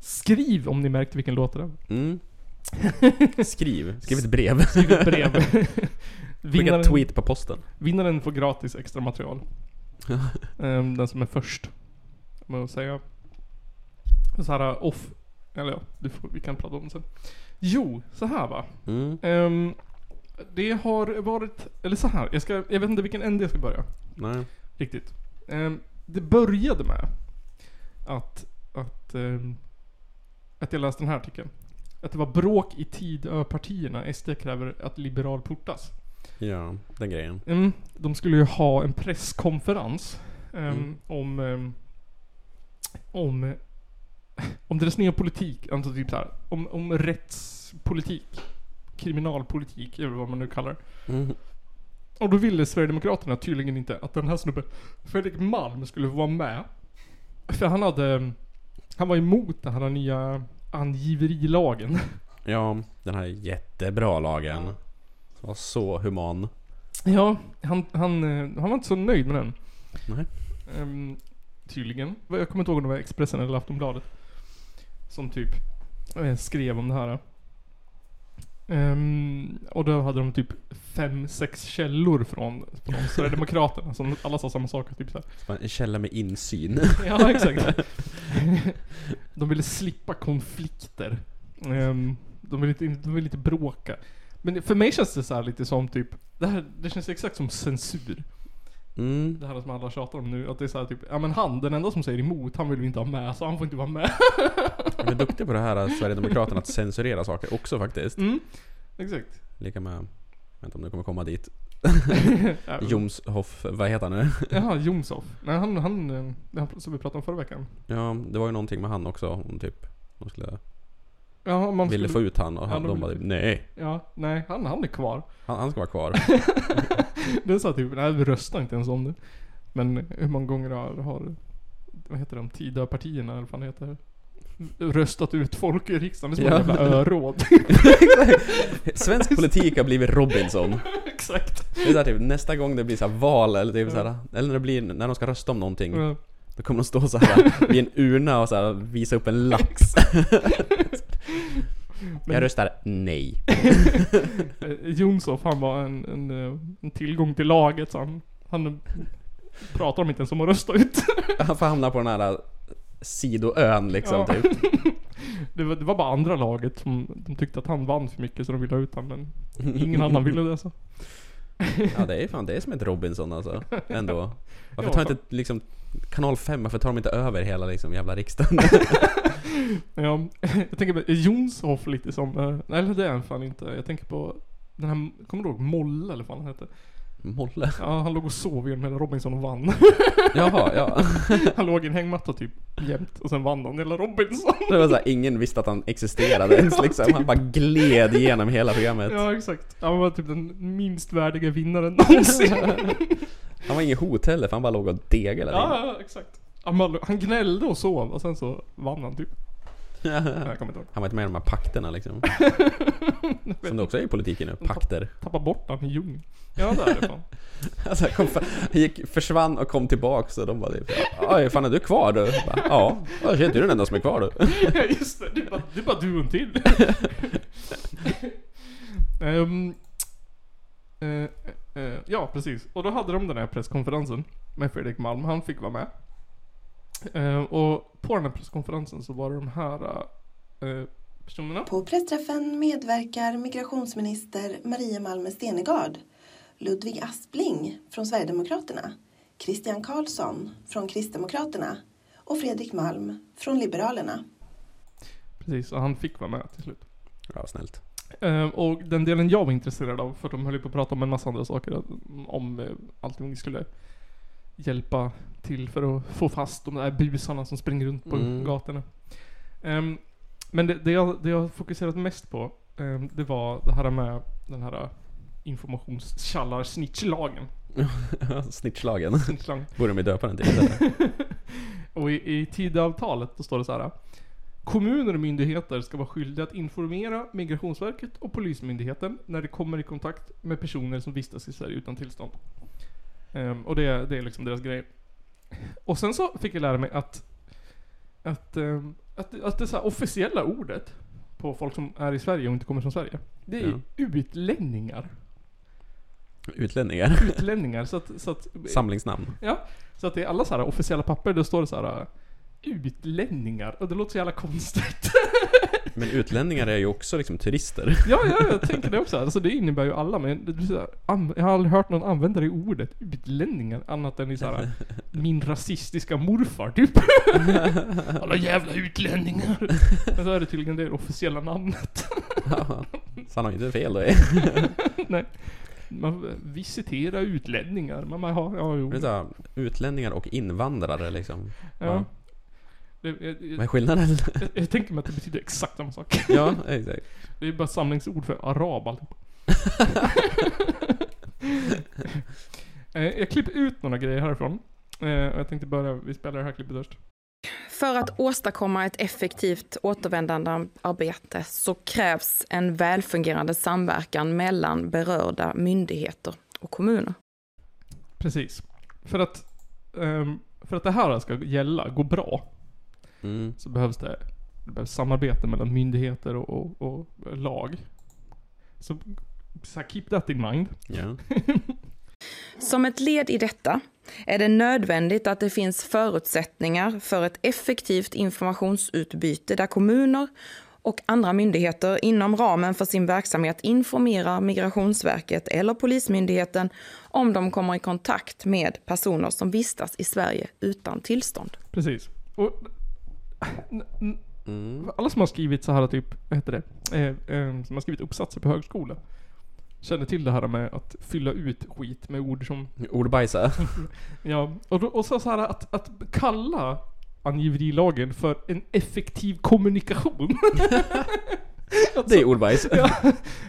S1: skriv om ni märkte vilken låt det var.
S2: Mm. Skriv. Skriv ett brev.
S1: Skriv ett brev.
S2: Skicka
S1: vinnaren,
S2: ett tweet på posten.
S1: vinnaren får gratis extra material. Ehm, den som är först. Med att säga. Så här eh, off. Eller ja, du får, vi kan prata om det sen. Jo, så här va.
S2: Mm.
S1: Ehm, det har varit, eller så här. Jag, ska, jag vet inte vilken ände jag ska börja.
S2: Nej.
S1: Riktigt. Ehm, det började med att, att, ehm, att jag läste den här artikeln. Att det var bråk i Tidöpartierna. SD kräver att liberal portas.
S2: Ja, den grejen.
S1: Mm, de skulle ju ha en presskonferens ehm, om, ehm, om, om deras nya politik. Alltså typ så här, om, om rättspolitik. Kriminalpolitik, eller vad man nu kallar det.
S2: Mm.
S1: Och då ville Sverigedemokraterna tydligen inte att den här snubben, Fredrik Malm, skulle få vara med. För han hade, han var emot den här nya angiverilagen.
S2: Ja, den här jättebra lagen. Som var så human.
S1: Ja, han, han, eh, han var inte så nöjd med den.
S2: Nej.
S1: Ehm, tydligen. Jag kommer inte ihåg om det var Expressen eller Aftonbladet. Som typ eh, skrev om det här. Ehm, och då hade de typ fem, sex källor från, från Sverigedemokraterna som alla sa samma saker. Typ så här.
S2: Så bara En källa med insyn.
S1: Ja, exakt. De ville slippa konflikter. Ehm, De ville inte, de ville inte bråka. Men för mig känns det så här lite som typ, det, här, det känns exakt som censur.
S2: Mm.
S1: Det här som alla tjatar om nu, att det är så här typ, ja men han, den enda som säger emot, han vill vi inte ha med, så han får inte vara med.
S2: De är duktiga på det här eh, Sverigedemokraterna att censurera saker också faktiskt.
S1: Mm. Exakt.
S2: Lika med... Vänta om du kommer komma dit.
S1: Ja.
S2: Jomshoff, vad heter han nu?
S1: Jaha, Jomshof. Nej, han, han, eh, det han som vi pratade om förra veckan.
S2: Ja, det var ju någonting med han också. Om typ... De skulle,
S1: Ja, man
S2: ville få
S1: skulle,
S2: ut han och han,
S1: Ja, de
S2: de bara
S1: ville-
S2: typ, nej.
S1: Ja, nej, han, han är kvar.
S2: Han, han ska vara kvar.
S1: Det är så här typ, nej vi röstar inte ens om det. Men hur många gånger har, har vad heter de, Tidöpartierna eller vad fan heter det? Röstat ut folk i riksdagen. Det är som ett
S2: Ja.
S1: jävla öråd.
S2: Svensk politik har blivit Robinson.
S1: Exakt.
S2: Det är så här, typ, nästa gång det blir så här val eller typ så här, eller när det blir när de ska rösta om någonting.
S1: Ja.
S2: Då kommer de stå så här vid en urna och så här, visa upp en lax. Jag röstar nej.
S1: Eh, Jonsson, han var en, en, eh, en tillgång till laget så han, han pratar om inte ens om att rösta ut.
S2: Han får hamna på den här sidoön liksom
S1: Ja.
S2: typ.
S1: Det var, det var bara andra laget som de tyckte att han vann för mycket så de ville ha ut honom. Men ingen annan ville det så.
S2: Ja det är fan, det är som ett Robinson alltså. Ändå. Varför
S1: Ja,
S2: tar
S1: fan.
S2: inte liksom Kanal 5, varför tar de inte över hela liksom jävla riksdagen?
S1: Ja, jag tänker på är Jonshoff lite som, eh, nej eller det är han fan inte. Jag tänker på den här, kommer du ihåg Molle eller vad han hette?
S2: Molle?
S1: Ja, han låg och sov i den hela Robinson och vann.
S2: Jaha, ja.
S1: Han låg i en hängmatta typ jämt och sen vann han hela Robinson.
S2: Det var så här, ingen visste att han existerade ens liksom. Han bara gled igenom hela programmet.
S1: typ. Ja, exakt. Han var typ den minst värdiga vinnaren någonsin.
S2: Han var ingen hot heller för han bara låg och degade hela tiden.
S1: Ja, ja, exakt. Han bara- Han gnällde och sov och sen så vann han typ. Nej, Jag kommer inte ihåg.
S2: Han var inte med i de här pakterna liksom. Som det också är i politiken nu, pakter.
S1: Tappa bort han i djungeln. Ja, det är det fan.
S2: Alltså, han kom, för- han gick, försvann och kom tillbaks och de bara typ, Oj, fan är du kvar du? Bara, ja, "Ja, shit, du är den enda som är kvar du.
S1: Ja, Just det, det är bara, det är bara du och en till. Ehm, eh, eh, ja, precis. Och då hade de den här presskonferensen med Fredrik Malm. Han fick vara med. Eh, och på den här presskonferensen så var det de här eh, personerna.
S10: På pressträffen medverkar migrationsminister Maria Malmer Stenegard, Ludvig Aspling från Sverigedemokraterna, Christian Karlsson från Kristdemokraterna och Fredrik Malm från Liberalerna.
S1: Precis, och han fick vara med till slut.
S2: Ja, snällt.
S1: Eh, och den delen jag var intresserad av, för de höll ju på att prata om en massa andra saker, att- om eh, allting vi skulle hjälpa till för att få fast de där busarna som springer runt på
S2: Mm.
S1: gatorna. Ehm, men det, det, jag, det jag fokuserat mest på, ehm, det var det här med den här informationstjallar-snitchlagen.
S2: Snitchlagen.
S1: Snitchlang.
S2: Borde de ju döpa den till istället.
S1: Och i, i Tidöavtalet då står det så här. Kommuner och myndigheter ska vara skyldiga att informera Migrationsverket och Polismyndigheten när de kommer i kontakt med personer som vistas i Sverige utan tillstånd. Ehm, och det, det är liksom deras grej. Och sen så fick jag lära mig att att, ehm, att, att det så här officiella ordet på folk som är i Sverige och inte kommer från Sverige. Det är utlänningar.
S2: Utlänningar.
S1: Utlänningar. Så att, så att,
S2: Samlingsnamn.
S1: Ja, så att i alla så här officiella papper då står det så här äh, utlänningar och det låter så jävla konstigt.
S2: Men utlänningar är ju också liksom turister.
S1: ja, ja, jag tänker det också. Alltså det innebär ju alla men det blir så här, an- jag har aldrig hört någon använda det ordet utlänningar annat än i så här min rasistiska morfar typ. alla jävla utlänningar. Men så är det tydligen det officiella namnet.
S2: Ja. Så han har ju inte fel då.
S1: Nej. Man visiterar utlänningar. Man bara, ja, ja, jo.
S2: Det är så här, Utlänningar och invandrare liksom.
S1: Ja. Det, jag,
S2: Vad är
S1: jag,
S2: skillnaden?
S1: jag, jag tänker mig att det betyder exakt samma sak.
S2: Ja, exakt.
S1: Det är bara samlingsord för arab alltihop. Eh, Jag klipper ut några grejer härifrån. Eh, och Jag tänkte börja, vi spelar det här klippet först.
S10: För att åstadkomma ett effektivt återvändandearbete så krävs en välfungerande samverkan mellan berörda myndigheter och kommuner.
S1: Precis. För att, ehm, för att det här ska gälla, gå bra,
S2: Mm.
S1: så behövs det, det behövs samarbete mellan myndigheter och, och, och lag. Så, så här, keep that in mind.
S2: Ja.
S10: Som ett led i detta är det nödvändigt att det finns förutsättningar för ett effektivt informationsutbyte där kommuner och andra myndigheter inom ramen för sin verksamhet informerar Migrationsverket eller Polismyndigheten om de kommer i kontakt med personer som vistas i Sverige utan tillstånd.
S1: Precis. Och... n- n- Alla som har skrivit så här typ, vad heter det? Eh, eh, som har skrivit uppsatser på högskola. Känner till det här med att fylla ut skit med ord som...
S2: Ordbajsa.
S1: Ja, och, då, och så, så här att, att kalla angiverilagen för en effektiv kommunikation.
S2: Det är ordbajs.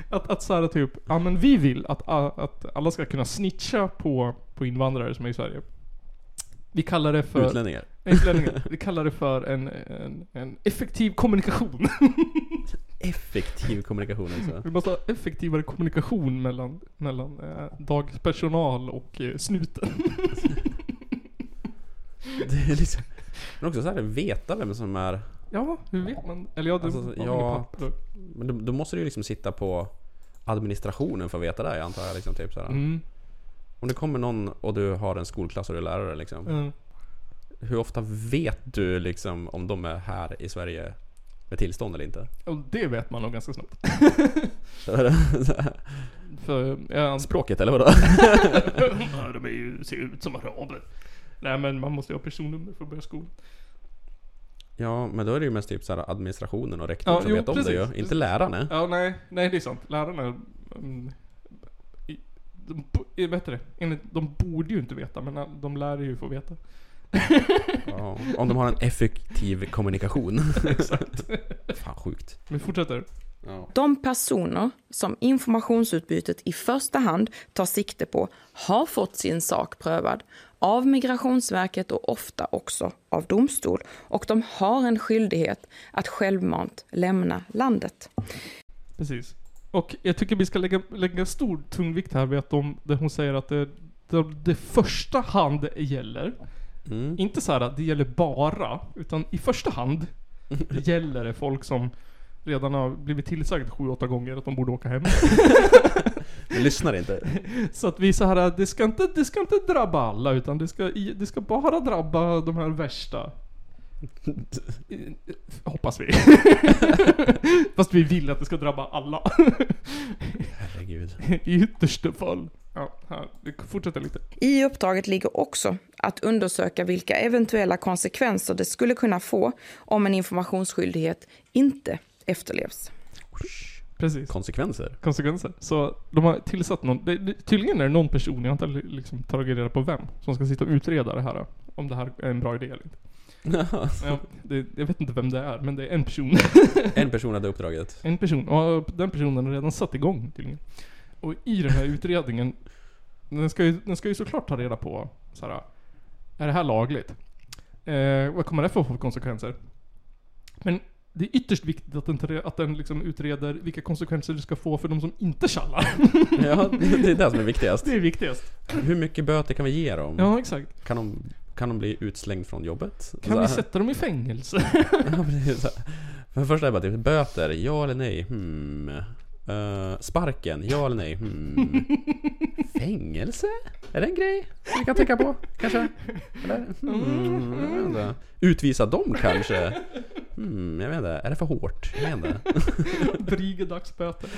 S1: att, att så här typ, ja men vi vill att, a- att alla ska kunna snitcha på, på invandrare som är i Sverige. Vi kallar det för...
S2: Utlänningar.
S1: Utlänningar. Vi kallar det för en, en, en effektiv kommunikation.
S2: Effektiv kommunikation alltså.
S1: Vi måste ha effektivare kommunikation mellan, mellan eh, dagspersonal och eh, snuten.
S2: Det är liksom... Men också så här, veta vem som är...
S1: Ja, hur vet man? Eller ja, det
S2: Alltså,
S1: var
S2: ja.
S1: inga papper.
S2: Men då, då måste du ju liksom sitta på administrationen för att veta det, jag antar jag. Liksom, typ, så här.
S1: Mm,
S2: Om det kommer någon och du har en skolklass och du är lärare liksom.
S1: eh,
S2: Hur ofta vet du liksom om de är här i Sverige med tillstånd eller inte?
S1: och det vet man nog ganska snabbt. För eh, jag antar...
S2: Språket eller vadå?
S1: Ja, de är ju, ser ut som araber. Nej men man måste ju ha personnummer för att börja skolan.
S2: Ja, men då är det ju mest typ så här administrationen och rektorn
S1: Ja,
S2: som
S1: jo,
S2: vet om
S1: precis.
S2: det ju. Inte lärarna.
S1: Ja, nej, nej det är sant. Lärarna... mm, i- de, bo- eh, vad heter det? Enligt, de borde ju inte veta, men eh, de lär ju få veta.
S2: Ja, om de har en effektiv kommunikation. Exakt. Fan sjukt.
S1: Vi fortsätter.
S10: De personer som informationsutbytet i första hand tar sikte på har fått sin sak prövad av Migrationsverket och ofta också av domstol och de har en skyldighet att självmant lämna landet.
S1: Precis. Och jag tycker vi ska lägga, lägga stor tungvikt här vid att de, där hon säger att det, det, det första hand gäller.
S2: Mm.
S1: Inte så här att det gäller bara, utan i första hand gäller det folk som redan har blivit tillsagd 7-8 gånger att de borde åka hem.
S2: Men lyssnar inte.
S1: Så att vi så här, det ska inte, det ska inte drabba alla utan det ska, i- det ska bara drabba de här värsta. I- Hoppas vi. Fast vi vill att det ska drabba alla.
S2: Herregud.
S1: I yttersta fall. Ja, här. Vi fortsätter lite.
S10: I uppdraget ligger också att undersöka vilka eventuella konsekvenser det skulle kunna få om en informationsskyldighet inte efterlevs.
S1: Precis.
S2: Konsekvenser.
S1: Konsekvenser. Så de har tillsatt någon. Det, det, tydligen är det någon person, jag har inte li- liksom tagit reda på vem, som ska sitta och utreda det här. Om det här är en bra idé eller inte. Ja, det, jag vet inte vem det är, men det är en person.
S2: en person hade uppdraget.
S1: En person, och den personen har redan satt igång tydligen. Och i den här utredningen, den ska ju, den ska ju såklart ta reda på så här, är det här lagligt? Eh, vad kommer det få för konsekvenser? Men det är ytterst viktigt att den, tar re- att den liksom utreder vilka konsekvenser det ska få för de som inte tjallar.
S2: Ja, det det är det som är viktigast.
S1: Det är viktigast.
S2: Hur mycket böter kan vi ge dem?
S1: Ja, exakt.
S2: Kan, de, kan de bli utslängd från jobbet?
S1: Kan
S2: Så
S1: vi
S2: här-
S1: sätta dem i fängelse?
S2: Ja, precis. Så här. För det första är det bara typ böter, ja eller nej? Hmm. Eh, sparken, ja eller nej? Hmm. Fängelse? Är det en grej vi kan tänka på? Kanske? Eller? Hmm. jag vet inte. Utvisa dem kanske? Hmm, jag vet inte. Är det för hårt? Jag vet inte.
S1: Dryga dagsböter.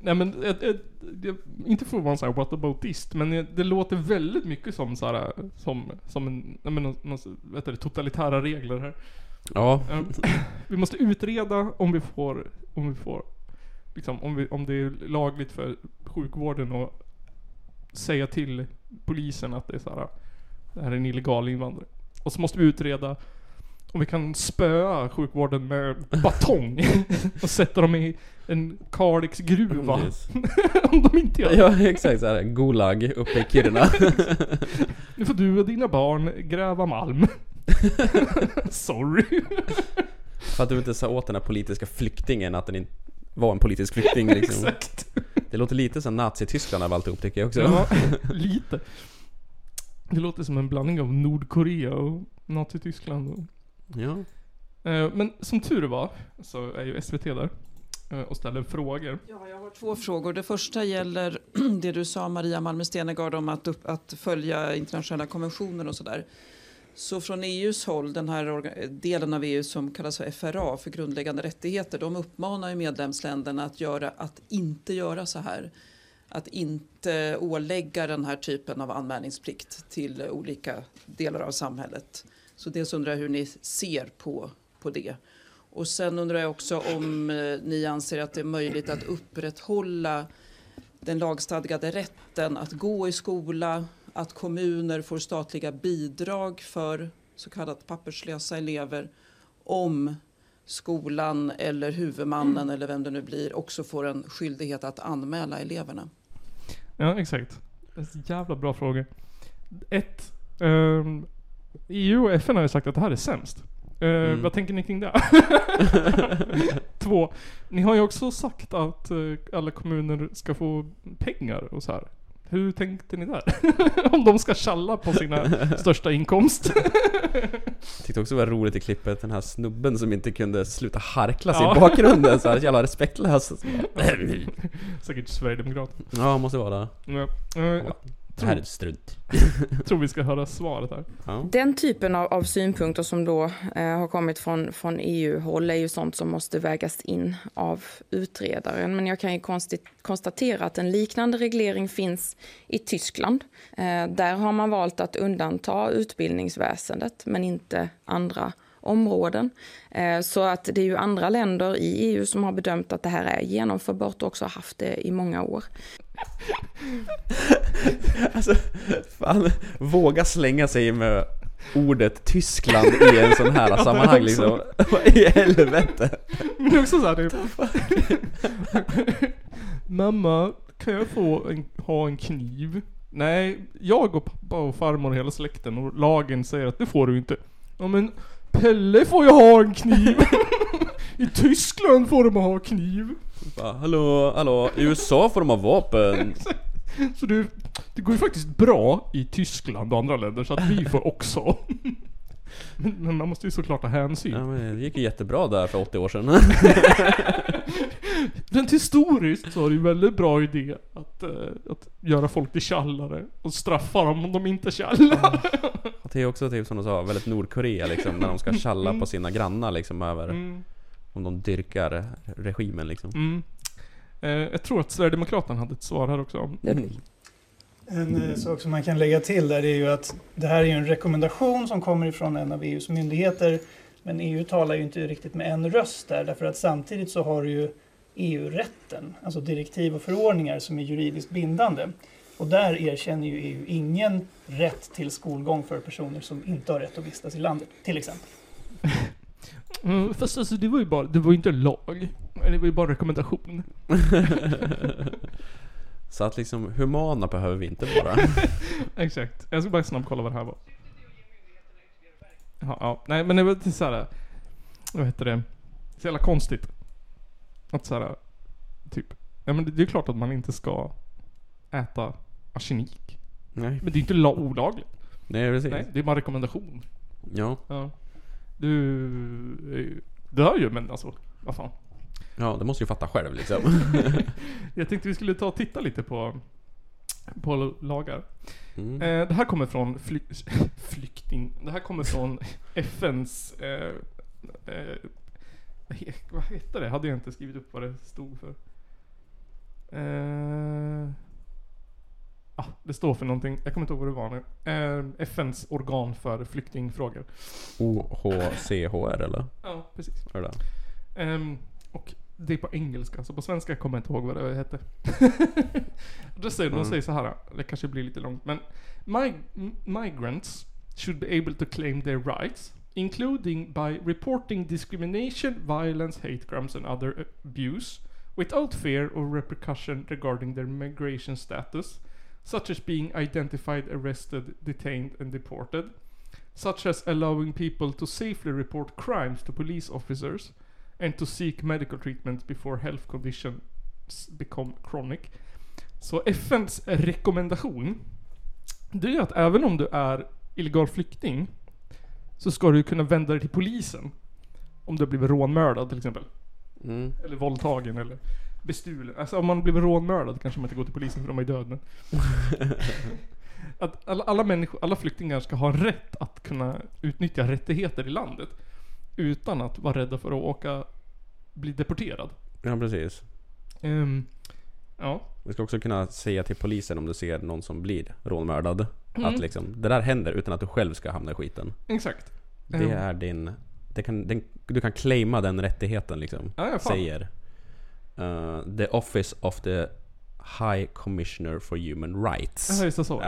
S1: Nej men, ett, ett, jag, inte för att vara en sån här whataboutist, men eh, det, det låter väldigt mycket som så här, eh, som, som en, nej men, någon, någon, vad heter det, totalitära regler här.
S2: Ja,
S1: Ehm, vi måste utreda om vi får, om vi får, liksom, om, vi, om det är lagligt för sjukvården att säga till polisen att det är så här, det här är en illegal invandrare. Och så måste vi utreda om vi kan spöa sjukvården med batong och sätta dem i en Kalixgruva.
S2: precis.
S1: om de inte gör det.
S2: Ja, exakt. Så här, Gulag uppe i Kiruna.
S1: Nu får du och dina barn gräva malm. Sorry.
S2: För att du inte sa åt den här politiska flyktingen att den inte var en politisk flykting. Liksom.
S1: Exakt.
S2: Det låter lite som Nazityskland av alltihop tycker jag också.
S1: Ja, lite. Det låter som en blandning av Nordkorea och Nazityskland. Och,
S2: Ja.
S1: eh, men som tur var så är ju SVT där eh, och ställer frågor.
S11: Ja, jag har två frågor. Det första gäller det du sa Maria Malmer Stenergard om att, upp, att följa internationella konventioner och sådär. Så från EUs håll, den här orga- delen av EU som kallas för FRA, för grundläggande rättigheter, de uppmanar ju medlemsländerna att, göra, att inte göra så här. Att inte ålägga den här typen av anmälningsplikt till olika delar av samhället. Så dels undrar jag hur ni ser på, på det. Och sen undrar jag också om eh, ni anser att det är möjligt att upprätthålla den lagstadgade rätten att gå i skola, att kommuner får statliga bidrag för så kallat papperslösa elever om skolan eller huvudmannen eller vem det nu blir också får en skyldighet att anmäla eleverna.
S1: Ja, exakt. Det är så jävla bra frågor. Ett. ehm, EU och FN har ju sagt att det här är sämst. Eh,
S2: Mm.
S1: Vad tänker ni kring det? Två. Ni har ju också sagt att eh, alla kommuner ska få pengar och så här. Hur tänkte ni där? Om de ska tjalla på sina största inkomst?
S2: Tyckte också det var roligt i klippet, den här snubben som inte kunde sluta harkla sig
S1: Ja.
S2: i bakgrunden. Så här, jävla respektlös.
S1: Säkert Sverigedemokrat.
S2: Ja, måste vara det.
S1: Ja. Eh, jag
S2: Det här är strunt.
S1: tror vi ska höra svaret här.
S2: Ja.
S10: Den typen av, av synpunkter som då eh, har kommit från, från EU-håll är ju sånt som måste vägas in av utredaren. Men jag kan ju konstigt, konstatera att en liknande reglering finns i Tyskland. Eh, där har man valt att undanta utbildningsväsendet men inte andra områden. Eh, Så att det är ju andra länder i EU som har bedömt att det här är genomförbart och också har haft det i många år.
S2: Alltså, fan, våga slänga sig med ordet Tyskland i en sån här
S1: Ja,
S2: sammanhang liksom.
S1: också.
S2: Vad i helvete?
S1: Men också såhär typ. Mamma, kan jag få en, ha en kniv? Nej, jag och pappa och farmor och hela släkten och lagen säger att det får du inte. Ja men Pelle får ju ha en kniv. I Tyskland får de ha kniv.
S2: Bara, hallå, hallå, i USA får de ha vapen.
S1: Så du, det går ju faktiskt bra i Tyskland och andra länder så att vi får också. Men, men man måste ju såklart ta hänsyn.
S2: Ja, men det gick ju jättebra där för 80 år sedan.
S1: Rent historiskt så är det ju väldigt bra idé att, eh, att göra folk till tjallare och straffa dem om de inte är tjallare.
S2: Och Det är också typ som de sa, väldigt Nordkorea liksom, när de ska tjalla på sina grannar liksom över
S1: Mm.
S2: om de dyrkar regimen liksom.
S1: Mm. Eh, jag tror att Sverigedemokraterna hade ett svar här också. om-
S12: En eh, sak som man kan lägga till där är ju att det här är ju en rekommendation som kommer ifrån en av EUs myndigheter. Men EU talar ju inte riktigt med en röst där därför att samtidigt så har du ju EU-rätten, alltså direktiv och förordningar som är juridiskt bindande. Och där erkänner ju EU ingen rätt till skolgång för personer som inte har rätt att vistas i landet, till exempel.
S1: Mm, fast alltså det var ju bara, det var ju inte en lag. Det var ju bara en rekommendation.
S2: Så att liksom humana behöver vi inte vara.
S1: Exakt. Jag ska bara snabbt kolla vad det här var. Ja, ja. Nej men det var lite såhär, vad heter det? Så jävla konstigt. Att såhär, typ. Ja men det, det är klart att man inte ska äta arsenik.
S2: Nej.
S1: Men det är inte la- olagligt.
S2: Nej precis.
S1: Nej, det är bara en rekommendation.
S2: Ja.
S1: Ja. Du är ju dör ju men alltså, vad fan.
S2: ja, det måste ju fatta själv liksom.
S1: Jag tänkte vi skulle ta och titta lite på, på lagar.
S2: Mm.
S1: Eh, det här kommer från flyk, flykting... Det här kommer från FNs... Eh, eh, vad he- vad heter det? Hade jag inte skrivit upp vad det stod för. Eh, ah, det står för någonting. Jag kommer inte ihåg vad det var nu. Eh, FNs organ för flyktingfrågor.
S2: OHCHR eller?
S1: Ja, precis.
S2: Är det det?
S1: Ehm, och det är på engelska, så på svenska kommer jag inte ihåg vad det hette. Då säger de
S2: Mm.
S1: säger så här, det kanske blir lite långt, men "Mig- m- migrants should be able to claim their rights, including by reporting discrimination, violence, hate crimes and other abuse, without fear or repercussion regarding their migration status, such as being identified, arrested, detained and deported, such as allowing people to safely report crimes to police officers and to seek medical treatment before health conditions become chronic. Så FNs rekommendation, det är att även om du är illegal flykting så ska du kunna vända dig till polisen. Om du har blivit rånmördad till exempel.
S2: Mm.
S1: Eller våldtagen eller bestulen. Alltså om man blir rånmördad kanske man inte går till polisen för de är ju död men. att alla, alla människor, alla flyktingar ska ha rätt att kunna utnyttja rättigheter i landet. Utan att vara rädda för att åka, bli deporterad.
S2: Ja precis.
S1: Ehm, ja.
S2: Vi ska också kunna säga till polisen om du ser någon som blir rånmördad.
S1: Mm.
S2: Att liksom, det där händer utan att du själv ska hamna i skiten.
S1: Exakt. Ehm,
S2: Det är din... Det kan, den, du kan claima den rättigheten liksom.
S1: Ja, ja, fan.
S2: säger eh, The Office of the High Commissioner for Human Rights.
S1: Ja, just det, så var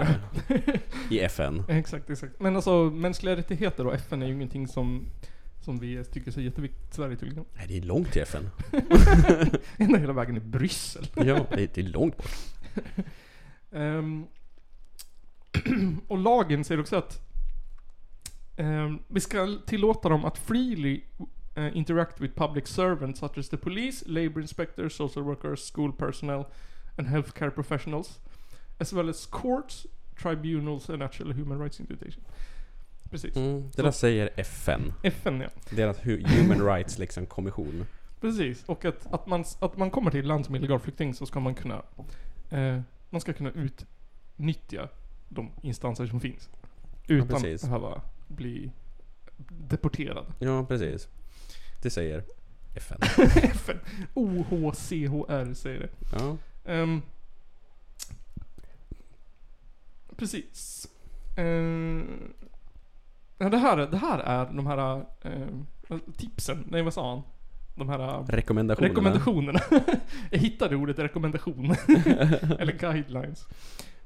S2: Där. I FN.
S1: Exakt, exakt. Men alltså mänskliga rättigheter och FN är ju ingenting som, som vi tycker är jätteviktigt i Sverige tydligen.
S2: Nej, det är långt till FN.
S1: Ända hela vägen i Bryssel.
S2: Ja, det, det är långt bort.
S1: Ehm, och lagen säger också att ehm, vi ska tillåta dem att freely eh, interact with public servants such as the police, labor inspectors, social workers, school personnel and healthcare professionals. As well as courts, tribunals and actual human rights institutions. Precis.
S2: Det där säger FN.
S1: FN ja.
S2: Deras hu- Human Rights liksom kommission.
S1: Precis, och att, att, man, att man kommer till ett land som illegal flykting så ska man kunna eh, Man ska kunna utnyttja de instanser som finns. Utan att
S2: precis.
S1: behöva bli deporterad.
S2: Ja, precis. Det säger FN.
S1: FN. OHCHR säger det.
S2: Ja.
S1: Ehm, precis. Ehm, Nej, det, här, det här är de här eh, tipsen. Nej, vad sa han? De här...
S2: Rekommendationerna.
S1: Rekommendationerna. Jag hittade ordet rekommendation. Eller guidelines.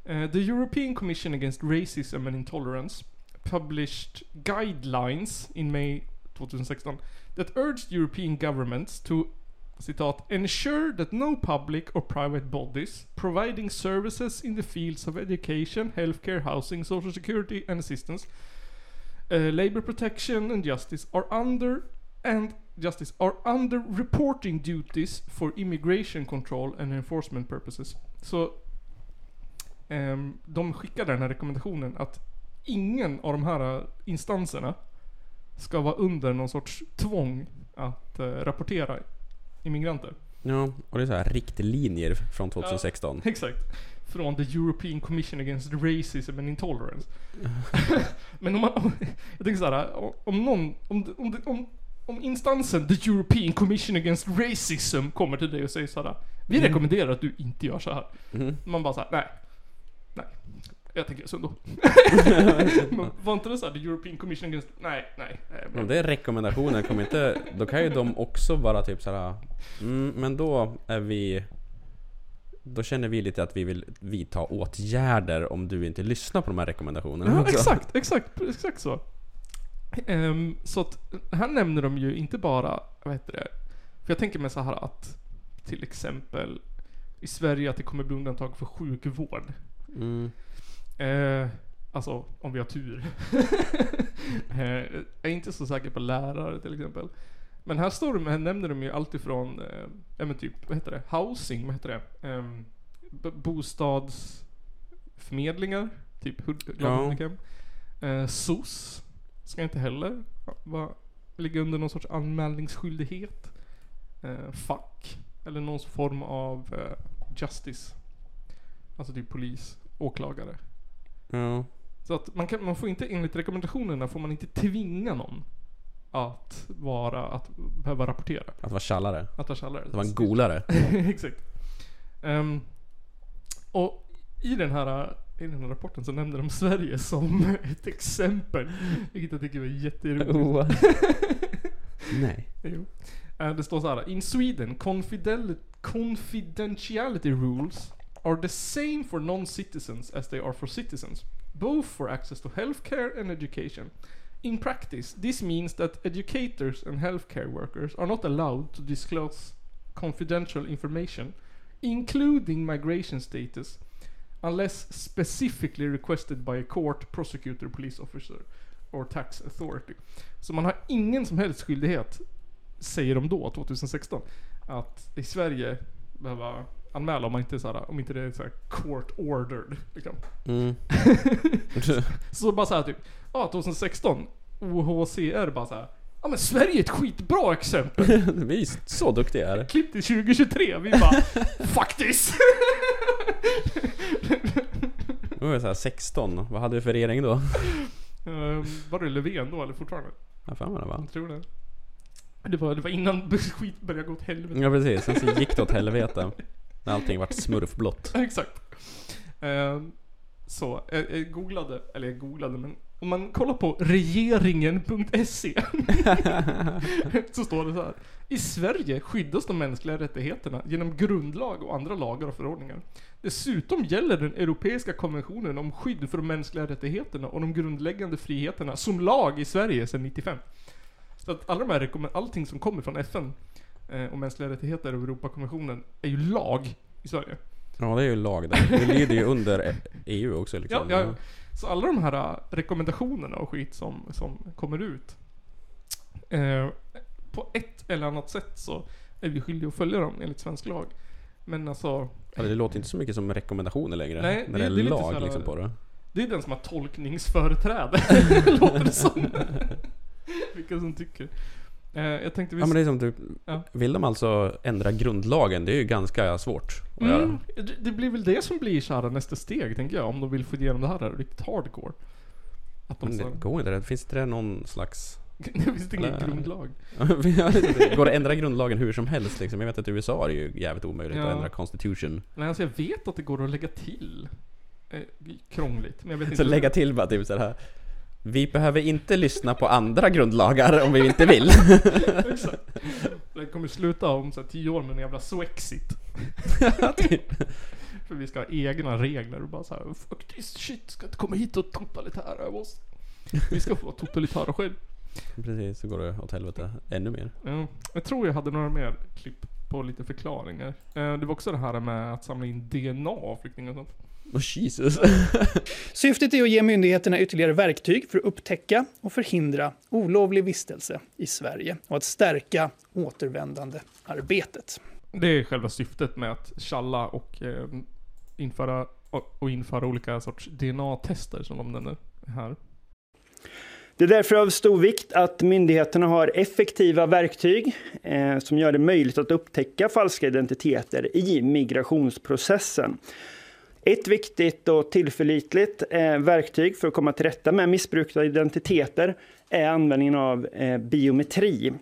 S1: Eh, the European Commission Against Racism and Intolerance published guidelines in May 2016 that urged European governments to citat, ensure that no public or private bodies providing services in the fields of education, healthcare, housing, social security and assistance, uh, labor protection and justice are under and justice are under reporting duties for immigration control and enforcement purposes. Så ehm, de skickade den här rekommendationen att ingen av de här eh, instanserna ska vara under någon sorts tvång att eh, rapportera immigranter.
S2: Ja, och det är så här riktlinjer från 2016.
S1: Ja, exakt. Från the European Commission Against Racism and Intolerance. Men om man... Om, jag tänker såhär, om- om någon... Om, om, om, om instansen the European Commission Against Racism kommer till dig och säger såhär Vi
S2: Mm.
S1: rekommenderar att du inte gör så här.
S2: Mhm.
S1: Man bara såhär, nej. Nej. Jag tänker så ändå. Men var inte det såhär the European Commission Against... Nej, nej. nej
S2: Om det är rekommendationer, kommer inte, då kan ju de också bara typ såhär... Mm, men då är vi... Då känner vi lite att vi vill vidta åtgärder om du inte lyssnar på de här rekommendationerna.
S1: Ja,
S2: också.
S1: exakt, exakt, exakt så. Ehm, så att här nämner de ju inte bara, vad heter det? För jag tänker mig så här att till exempel i Sverige att det kommer bli undantag för sjukvård.
S2: Mm.
S1: Eh, alltså, om vi har tur. eh, jag är inte så säker på lärare till exempel. Men här, står de, här nämner de ju alltifrån, eh, ja men typ, vad heter det? Housing, vad heter det? Eh, b- bostadsförmedlingar, typ Hud-
S2: Ja.
S1: Huddinge. eh, SOS ska inte heller vara, ligga under någon sorts anmälningsskyldighet. Eh, fack, eller någon form av eh, justice. Alltså typ polis, åklagare.
S2: Ja.
S1: Så att man, kan, man får inte, enligt rekommendationerna, får man inte tvinga någon att vara, att behöva rapportera.
S2: Att vara tjallare.
S1: Att vara tjallare.
S2: Att vara en golare.
S1: Exakt. Ehm, och i den, här, i den här rapporten så nämnde de Sverige som ett exempel. Vilket jag tycker var
S2: Oh.
S1: jätteroligt.
S2: Nej.
S1: Jo. Eh, Det står så här. In Sweden, confidel- confidentiality rules are the same for non-citizens as they are for citizens. Both for access to healthcare and education. In practice, this means that educators and healthcare workers are not allowed to disclose confidential information, including migration status, unless specifically requested by a court, prosecutor, police officer or tax authority. Så man har ingen som helst skyldighet, säger de då, 2016, att i Sverige behöva anmäla om man inte, är så här, om inte det är så här court ordered. Liksom.
S2: Mm.
S1: Så bara såhär typ, ja 2016, OHCR bara såhär, ja men Sverige är ett skitbra exempel.
S2: vi är så duktiga här.
S1: Klipp till 2023, vi bara, faktiskt.
S2: Nu var vi såhär 16. Vad hade vi för regering då?
S1: Ehm, var det Löfven då eller fortfarande?
S2: Jag fan vad det var.
S1: Jag tror det. Det var, det var innan skit började gå åt helvete.
S2: Ja precis, sen så gick det åt helvete. När allting vart smurfblått.
S1: Exakt. Ehm, så, jag, jag googlade, eller jag googlade men om man kollar på regeringen.se E så står det så här. I Sverige skyddas de mänskliga rättigheterna genom grundlag och andra lagar och förordningar. Dessutom gäller den europeiska konventionen om skydd för de mänskliga rättigheterna och de grundläggande friheterna som lag i Sverige sedan 95. Så att alla de här rekommend- allting som kommer från FN eh, och mänskliga rättigheter och Europakonventionen är ju lag i Sverige.
S2: Ja det är ju lag där. Vi lyder ju under EU också
S1: Ja,
S2: liksom.
S1: ja. Så alla de här äh, rekommendationerna och skit som, som kommer ut. Eh, på ett eller annat sätt så är vi skyldiga att följa dem enligt svensk lag. Men alltså,
S2: Ja, Det låter inte så mycket som rekommendationer längre.
S1: Nej, det-
S2: när det är
S1: det är lite eh,
S2: lag
S1: såhär-
S2: liksom på det.
S1: det är den som har tolkningsföreträde, låter det som. Vilka som tycker. Eh, jag tänkte vi...
S2: Ja men det är som typ,
S1: Ja.
S2: vill de alltså ändra grundlagen? Det är ju ganska svårt att
S1: Mm,
S2: göra.
S1: det, det blir väl det som blir så här nästa steg, tänker jag. Om de vill få igenom det här riktigt hardcore. Att de
S2: Men det
S1: så...
S2: går inte det. Finns inte det någon slags...
S1: Finns det ingen
S2: Eller-
S1: grundlag?
S2: går det att ändra grundlagen hur som helst liksom? Jag vet att i USA är det ju jävligt omöjligt
S1: Ja.
S2: att ändra constitution.
S1: Nej, alltså jag vet att det går att lägga till. Eh, krångligt, men jag vet
S2: Så
S1: inte.
S2: lägga till bara typ såhär Vi behöver inte lyssna på andra grundlagar om vi inte vill.
S1: Exakt. Det kommer sluta om så här, tio år med en jävla swexit. För vi ska ha egna regler och bara så här, fuck this shit, ska inte komma hit och totalitära över oss. Vi ska få vara totalitära själv.
S2: Precis, så går det åt helvete ännu mer.
S1: Ja, jag tror jag hade några mer klipp på lite förklaringar. Eh, Det var också det här med att samla in DNA av flyktingar och sånt.
S2: Oh, Jesus.
S12: Syftet är att ge myndigheterna ytterligare verktyg för att upptäcka och förhindra olovlig vistelse i Sverige och att stärka återvändandearbetet.
S1: Det är själva syftet med att tjalla och eh, införa och införa olika sorts DNA-tester som de nämner här.
S13: Det är därför av stor vikt att myndigheterna har effektiva verktyg eh, som gör det möjligt att upptäcka falska identiteter i migrationsprocessen. Ett viktigt och tillförlitligt eh, verktyg för att komma till rätta med missbruk av identiteter är användningen av eh, biometri.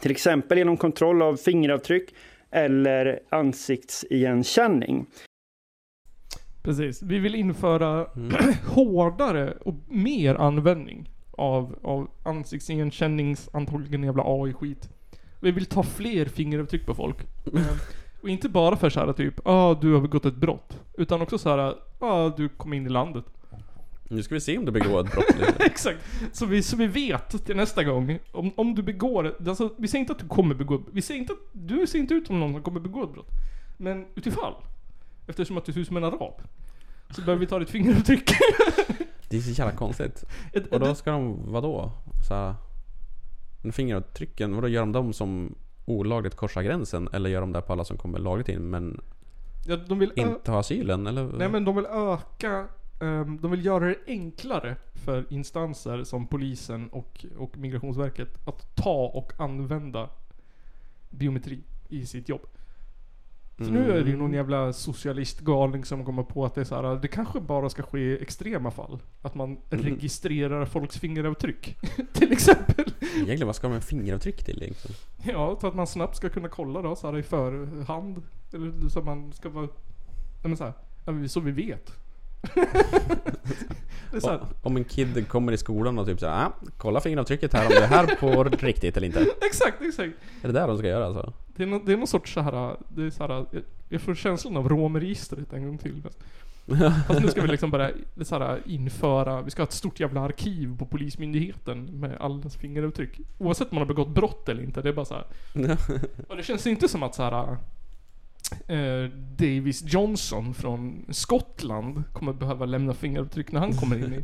S13: Till exempel genom kontroll av fingeravtryck eller ansiktsigenkänning.
S1: Precis. Vi vill införa hårdare och mer användning av, av ansiktsigenkännings, antagligen jävla AI-skit. Vi vill ta fler fingeravtryck på folk. Eh, och inte bara för såhär typ, ah du har begått ett brott. Utan också såhär, ah du kom in i landet.
S2: Nu ska vi se om du begår ett brott nu.
S1: Exakt. Så vi, så vi vet till nästa gång, om, om du begår, alltså vi säger inte att du kommer begå, vi säger inte att, du ser inte ut som någon som kommer begå ett brott. Men utifall, eftersom att du ser ut som en arab, så behöver vi ta ditt fingeravtryck.
S2: Det är så jävla konstigt. Och då ska de, vadå? Så här, men fingeravtrycken, vadå gör de dem som olagligt korsar gränsen? Eller gör de det på alla som kommer lagligt in men
S1: Ja, de vill ö-
S2: inte har asylen? Eller?
S1: Nej men de vill öka, ehm, de vill göra det enklare för instanser som polisen och, och migrationsverket att ta och använda biometri i sitt jobb. Så nu är det ju någon jävla socialistgalning som kommer på att det är så här, det kanske bara ska ske i extrema fall. Att man
S2: Mm.
S1: registrerar folks fingeravtryck. till exempel.
S2: Egentligen, vad ska de med fingeravtryck till liksom? egentligen?
S1: Ja, för att man snabbt ska kunna kolla då så här i förhand. Eller så att man ska vara... Nej men så här, ja, men så vi vet. det är så här,
S2: Om- Om en kid kommer i skolan och typ såhär, ah, kolla fingeravtrycket här om det är här på riktigt eller inte.
S1: Exakt, exakt.
S2: Är det där de ska göra alltså?
S1: Det är, nå det är någon sorts så här, det är så här jag, jag får känslan av romregistret en gång till. Fast nu ska vi liksom bara det är så här, införa, vi ska ha ett stort jävla arkiv på polismyndigheten med allas fingeravtryck. Oavsett om man har begått brott eller inte, det är bara så här. Och det känns inte som att så här. Eh, Davis Johnson från Skottland kommer behöva lämna fingeravtryck när han kommer in i...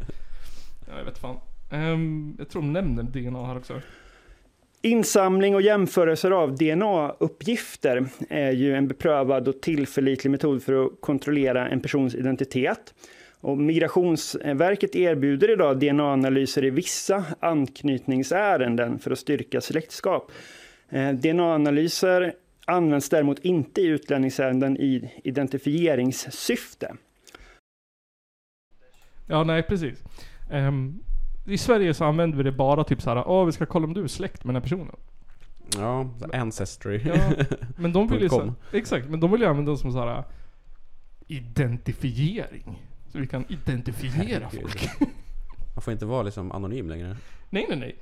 S1: Ja, jag vet fan. Ehm, jag tror de nämner DNA här också.
S13: Insamling och jämförelser av DNA-uppgifter är ju en beprövad och tillförlitlig metod för att kontrollera en persons identitet. Och Migrationsverket erbjuder idag DNA-analyser i vissa anknytningsärenden för att styrka släktskap. Eh, DNA-analyser används däremot inte i utlänningsärenden i identifieringssyfte.
S1: Ja, nej precis. Ehm, I Sverige så använder vi det bara typ såhär, åh vi ska kolla om du är släkt med den här personen.
S2: Ja, så ancestry.
S1: Ja, men de vill ju
S2: Punkt
S1: så,
S2: com.
S1: Exakt, men de vill ju använda det som såhär identifiering. Så vi kan identifiera
S2: Herregud.
S1: folk.
S2: Man får inte vara liksom anonym längre.
S1: nej, nej, nej.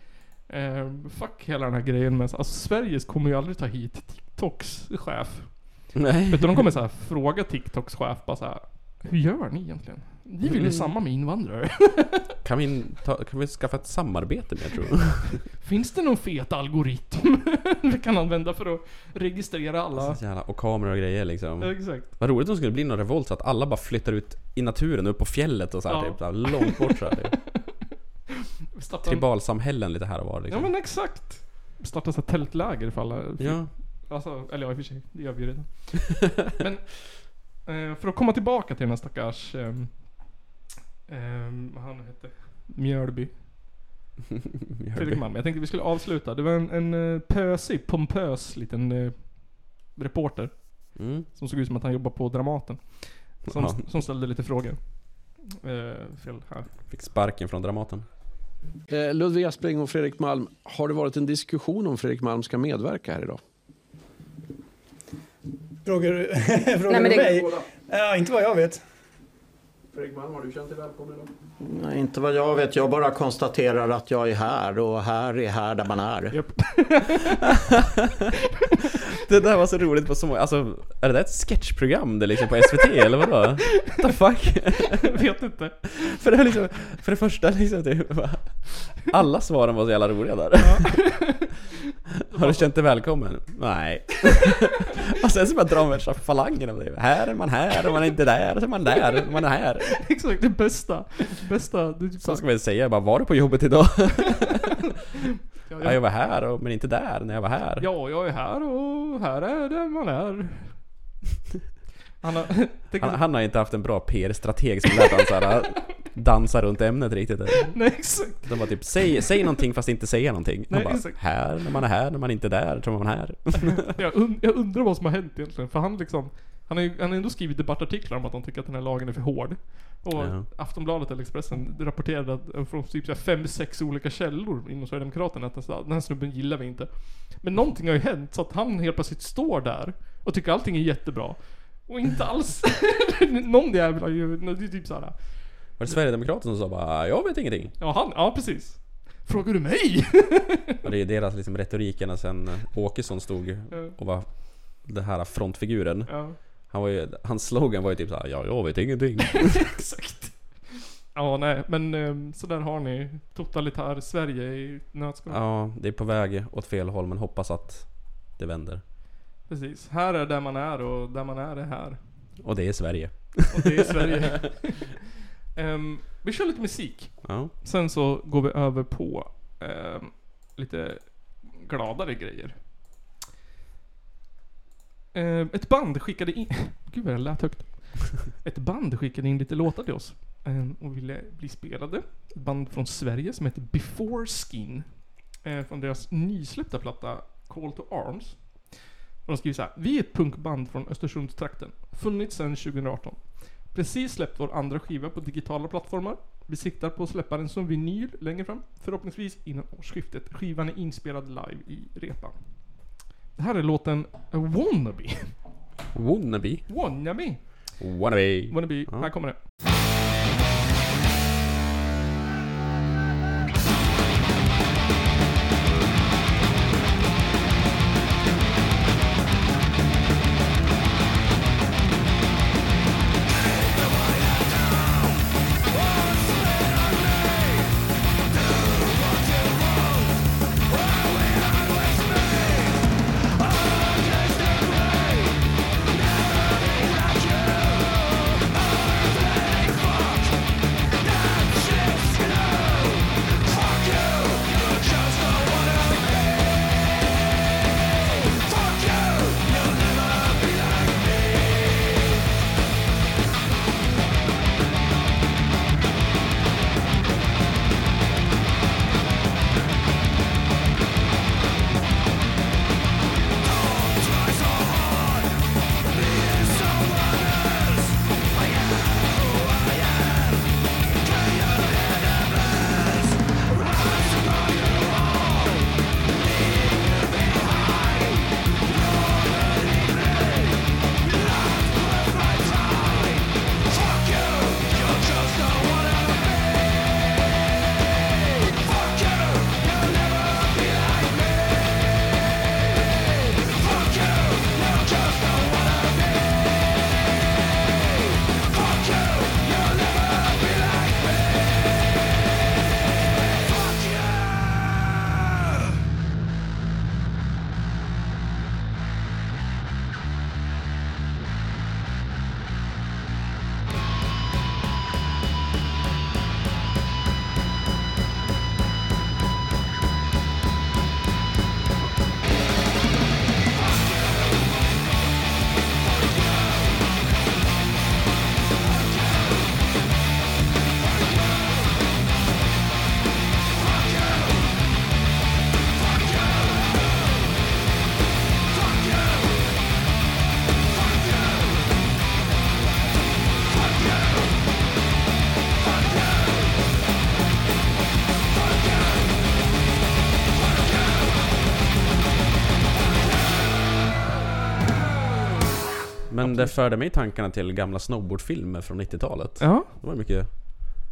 S1: Ehm, fuck hela den här grejen med, alltså Sveriges kommer ju aldrig ta hit TikToks chef.
S2: Nej.
S1: Utan de kommer såhär fråga TikToks chef bara såhär, hur gör ni egentligen? Ni vill ju
S2: Mm.
S1: samma med invandrare.
S2: Kan vi, ta, kan vi skaffa ett samarbete med tror
S1: Finns det någon fet algoritm vi kan använda för att registrera alla?
S2: jag. Jävla, och kameror och grejer liksom.
S1: Exakt.
S2: Vad roligt om det skulle bli någon revolt så att alla bara flyttar ut i naturen, upp på fjället och så här,
S1: Ja.
S2: typ, så här, långt bort så här, typ.
S1: Vi startar en-
S2: Tribalsamhällen lite här och var
S1: Ja
S2: liksom.
S1: men exakt. Starta så här tältläger för alla.
S2: Ja.
S1: Alltså, eller ja i och för sig, det gör vi ju redan. men eh, för att komma tillbaka till den här stackars... ehm, ehm, vad han hette? Mjölby. Fredrik Malm. Jag tänkte vi skulle avsluta. Det var en, en eh, pösig, pompös liten eh, reporter.
S2: Mm.
S1: Som såg ut som att han jobbade på Dramaten. Som,
S2: Ja.
S1: som ställde lite frågor. Eh, fel här.
S2: Fick sparken från Dramaten.
S14: Eh, Ludvig Aspling och Fredrik Malm, har det varit en diskussion om Fredrik Malm ska medverka här idag?
S12: Frågar, du- frågar
S10: men
S12: du
S10: det-
S12: mig? Ja, inte vad jag vet.
S14: Fredrik Malm, har du känt dig välkommen idag?
S15: Nej, inte vad jag vet. Jag bara konstaterar att jag är här och här är här där man är.
S2: Det där var så roligt på så många, alltså är det där ett sketchprogram det liksom på SVT eller vadå? What the fuck?
S1: Vet inte.
S2: För det, var liksom, för det första liksom typ, bara, alla svaren var så jävla roliga där. Har du känt dig välkommen? Nej. och sen så bara drar man värsta falangen av det. Här är man här och man är inte där och så är man där och man är här.
S1: Exakt, det bästa. Bästa. Det är typ
S2: Så
S1: bara-
S2: ska man ju säga bara, var du på jobbet idag?
S1: Ja,
S2: ja, jag var här och, men inte där när jag var här.
S1: Ja, jag är här och här är där man är. Han har... tänk
S2: Han,
S1: så-
S2: han har inte haft en bra PR-strateg som lät han såhär dansa runt ämnet riktigt.
S1: Nej, exakt.
S2: De bara typ, säg, säg någonting fast inte säga någonting. Han
S1: Nej,
S2: bara,
S1: exakt.
S2: här, när man är här, när man inte är där, tror man man är här.
S1: jag, und jag undrar vad som har hänt egentligen. För han liksom... Han har ju han har ändå skrivit debattartiklar om att han tycker att den här lagen är för hård. Och
S2: Ja.
S1: Aftonbladet eller Expressen rapporterade att, från typ så här fem, sex olika källor inom Sverigedemokraterna att den här- den här snubben gillar vi inte. Men någonting har ju hänt så att han helt plötsligt står där och tycker allting är jättebra. Och inte alls... Någon jävel har ju... Det är typ såhär...
S2: Var det Sverigedemokraterna som sa bara, jag vet ingenting?
S1: Ja, han, ja precis. Frågar du mig?
S2: Och det är deras liksom retorikerna sen Åkesson stod och var den här frontfiguren.
S1: Ja.
S2: Han var ju, hans slogan var ju typ såhär, ja jag vet ingenting.
S1: Exakt. Ja, nej, men ehm, så där har ni totalitär Sverige i nötskal.
S2: ja, det är på väg åt fel håll men hoppas att det vänder.
S1: Precis. Här är där man är och där man är är här.
S2: Och det är Sverige.
S1: Och det är Sverige. Ehm, vi kör lite musik.
S2: Ja.
S1: Sen så går vi över på ehm, lite gladare grejer. Ehm, ett band skickade in... Gud vad jag lät högt. Ett band skickade in lite låtar till oss. ehm, och ville bli spelade. Ett band från Sverige som heter Before Skin. eh, från deras nysläppta platta Call to Arms. Och de skriver så här. Vi är ett punkband från Östersundstrakten. Funnits sedan 2018. Precis släppt vår andra skiva på digitala plattformar. Vi siktar på att släppa den som vinyl längre fram. Förhoppningsvis innan årsskiftet. Skivan är inspelad live i Repan. Det här är låten Wannabe.
S2: Wannabe.
S1: Wannabe.
S2: Wannabe.
S1: Wannabe. Här kommer det.
S16: Hey!
S2: men det förde mig i tankarna till gamla snowboardfilmer från 90-talet.
S1: Ja.
S2: Det var mycket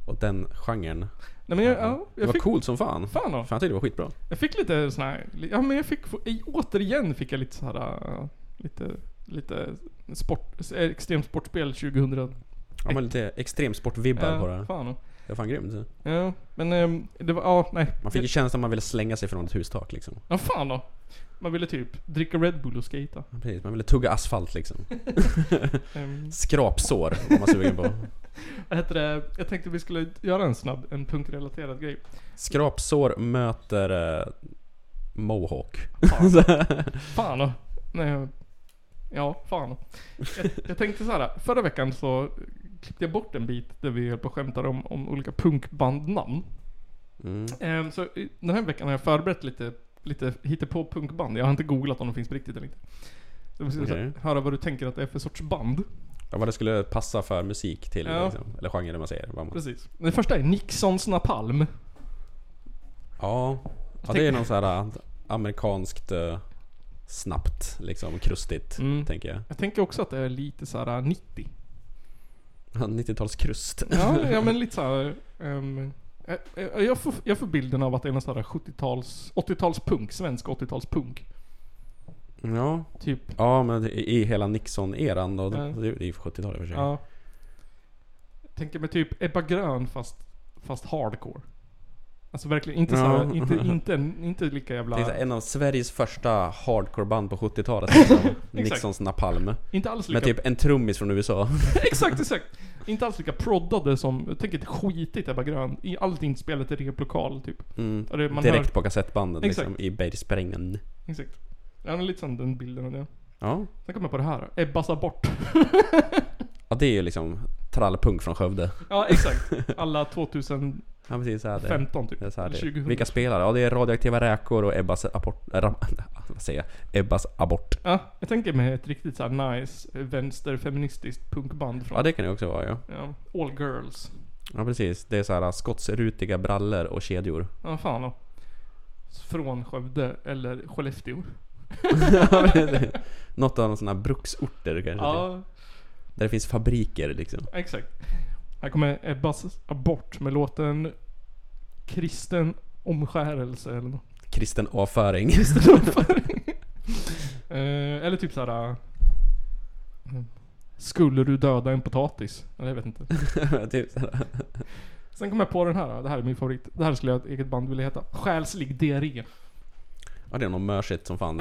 S2: åt den genren.
S1: Nej, men jag, ja,
S2: det
S1: jag
S2: var
S1: fick,
S2: coolt som fan.
S1: Fan, då.
S2: jag tyckte det var skitbra.
S1: jag fick lite sån här... Ja men jag fick... i- Återigen fick jag lite så här... äh, Lite... Lite sport... Extremt sportspel 2000.
S2: Ja, men lite extremsportvibbar
S1: Ja,
S2: på det.
S1: fan.
S2: Det var fan grymt.
S1: Ja, men ehm, det var... Ja, nej.
S2: Man fick ju känslan att man ville slänga sig från ett hustak liksom.
S1: Ja fan då. Man ville typ dricka Red Bull och skata.
S2: Precis, man ville tugga asfalt liksom.
S1: Ehm.
S2: Skrapsår var man sugen på.
S1: Vad heter det? Jag tänkte vi skulle göra en snabb, en punkrelaterad grej.
S2: Skrapsår möter eh, Mohawk.
S1: Fan då. Nej, ja, fan. Jag, jag tänkte så här. Förra veckan så klippte jag bort en bit där vi höll på och skämtade om, om olika punkbandnamn.
S2: Mm.
S1: Ehm, så i- den här veckan har jag förberett lite, lite hittepå punkband. Jag har inte googlat om de finns på riktigt eller inte. Så vi ska
S2: Okej.
S1: höra vad du tänker att det är för sorts band.
S2: Ja, vad det skulle passa för musik till
S1: Ja.
S2: liksom. Eller genre man säger. Vad man...
S1: Precis. Den första är Nixons Napalm.
S2: Ja. ja, det är någon sån här eh, amerikanskt eh, snabbt liksom, krustigt,
S1: Mm.
S2: tänker jag.
S1: Jag tänker också att det är lite så här 90.
S2: Ja, 90-talskrust.
S1: Ja, ja men lite såhär... Um, jag, får, jag får bilden av att det är någon sån här 70-tals... 80-talspunk. Svensk 80-talspunk.
S2: Ja.
S1: Typ.
S2: Ja, men i, i hela Nixon-eran då.
S1: Ja.
S2: Det är ju 70-talet i och för sig.
S1: Ja. Jag Tänker mig typ Ebba Grön fast, fast hardcore. Alltså verkligen inte så
S2: Ja.
S1: här, inte, inte, inte lika jävla...
S2: Det är så här en av Sveriges första hardcore-band på 70-talet. Liksom. Nixons Napalm.
S1: Inte alls
S2: Med
S1: lika-
S2: typ en trummis från USA.
S1: exakt, exakt. Inte alls lika proddade som... Jag tänker ett skitigt Ebba Grön. I- Allt inspelat i replokal typ.
S2: Mm.
S1: Och det- man
S2: Direkt
S1: hör-
S2: på kassettbanden
S1: Exakt.
S2: liksom, i bergsprängen.
S1: Exakt. Ja, men lite sån den bilden av det.
S2: Ja.
S1: Sen kommer jag på det här. Ebbas abort.
S2: ja, det är ju liksom trallpunk från Skövde.
S1: Ja, exakt. Alla 2000...
S2: Ja, precis, så här det.
S1: 15 typ.
S2: Det är så här
S1: Eller
S2: det.
S1: 2000.
S2: Vilka spelare? Ja, det är radioaktiva räkor och Ebbas abort... äh, ram- Vad säger jag? Ebbas abort.
S1: Ja, jag tänker mig ett riktigt så här nice eh, vänsterfeministiskt punkband från...
S2: Ja, det kan det också vara ja.
S1: Ja, All Girls.
S2: Ja, precis. Det är så här skotsrutiga brallor och kedjor.
S1: Ja, fan då. Från Skövde eller Skellefteå.
S2: Något av de såna här bruksorter kanske.
S1: Ja.
S2: Där det finns fabriker liksom.
S1: Exakt. Här kommer Ebbas abort med låten Kristen omskärelse eller något.
S2: Kristen avföring.
S1: Eh, Eller typ såhär... eh, Skulle du döda en potatis? Eller jag vet inte.
S2: typ så här.
S1: Sen kom jag på den här. Det här är min favorit. Det här skulle jag ett eget band vilja heta. Själslig diarré.
S2: Ja, det är nog mörsigt som fan.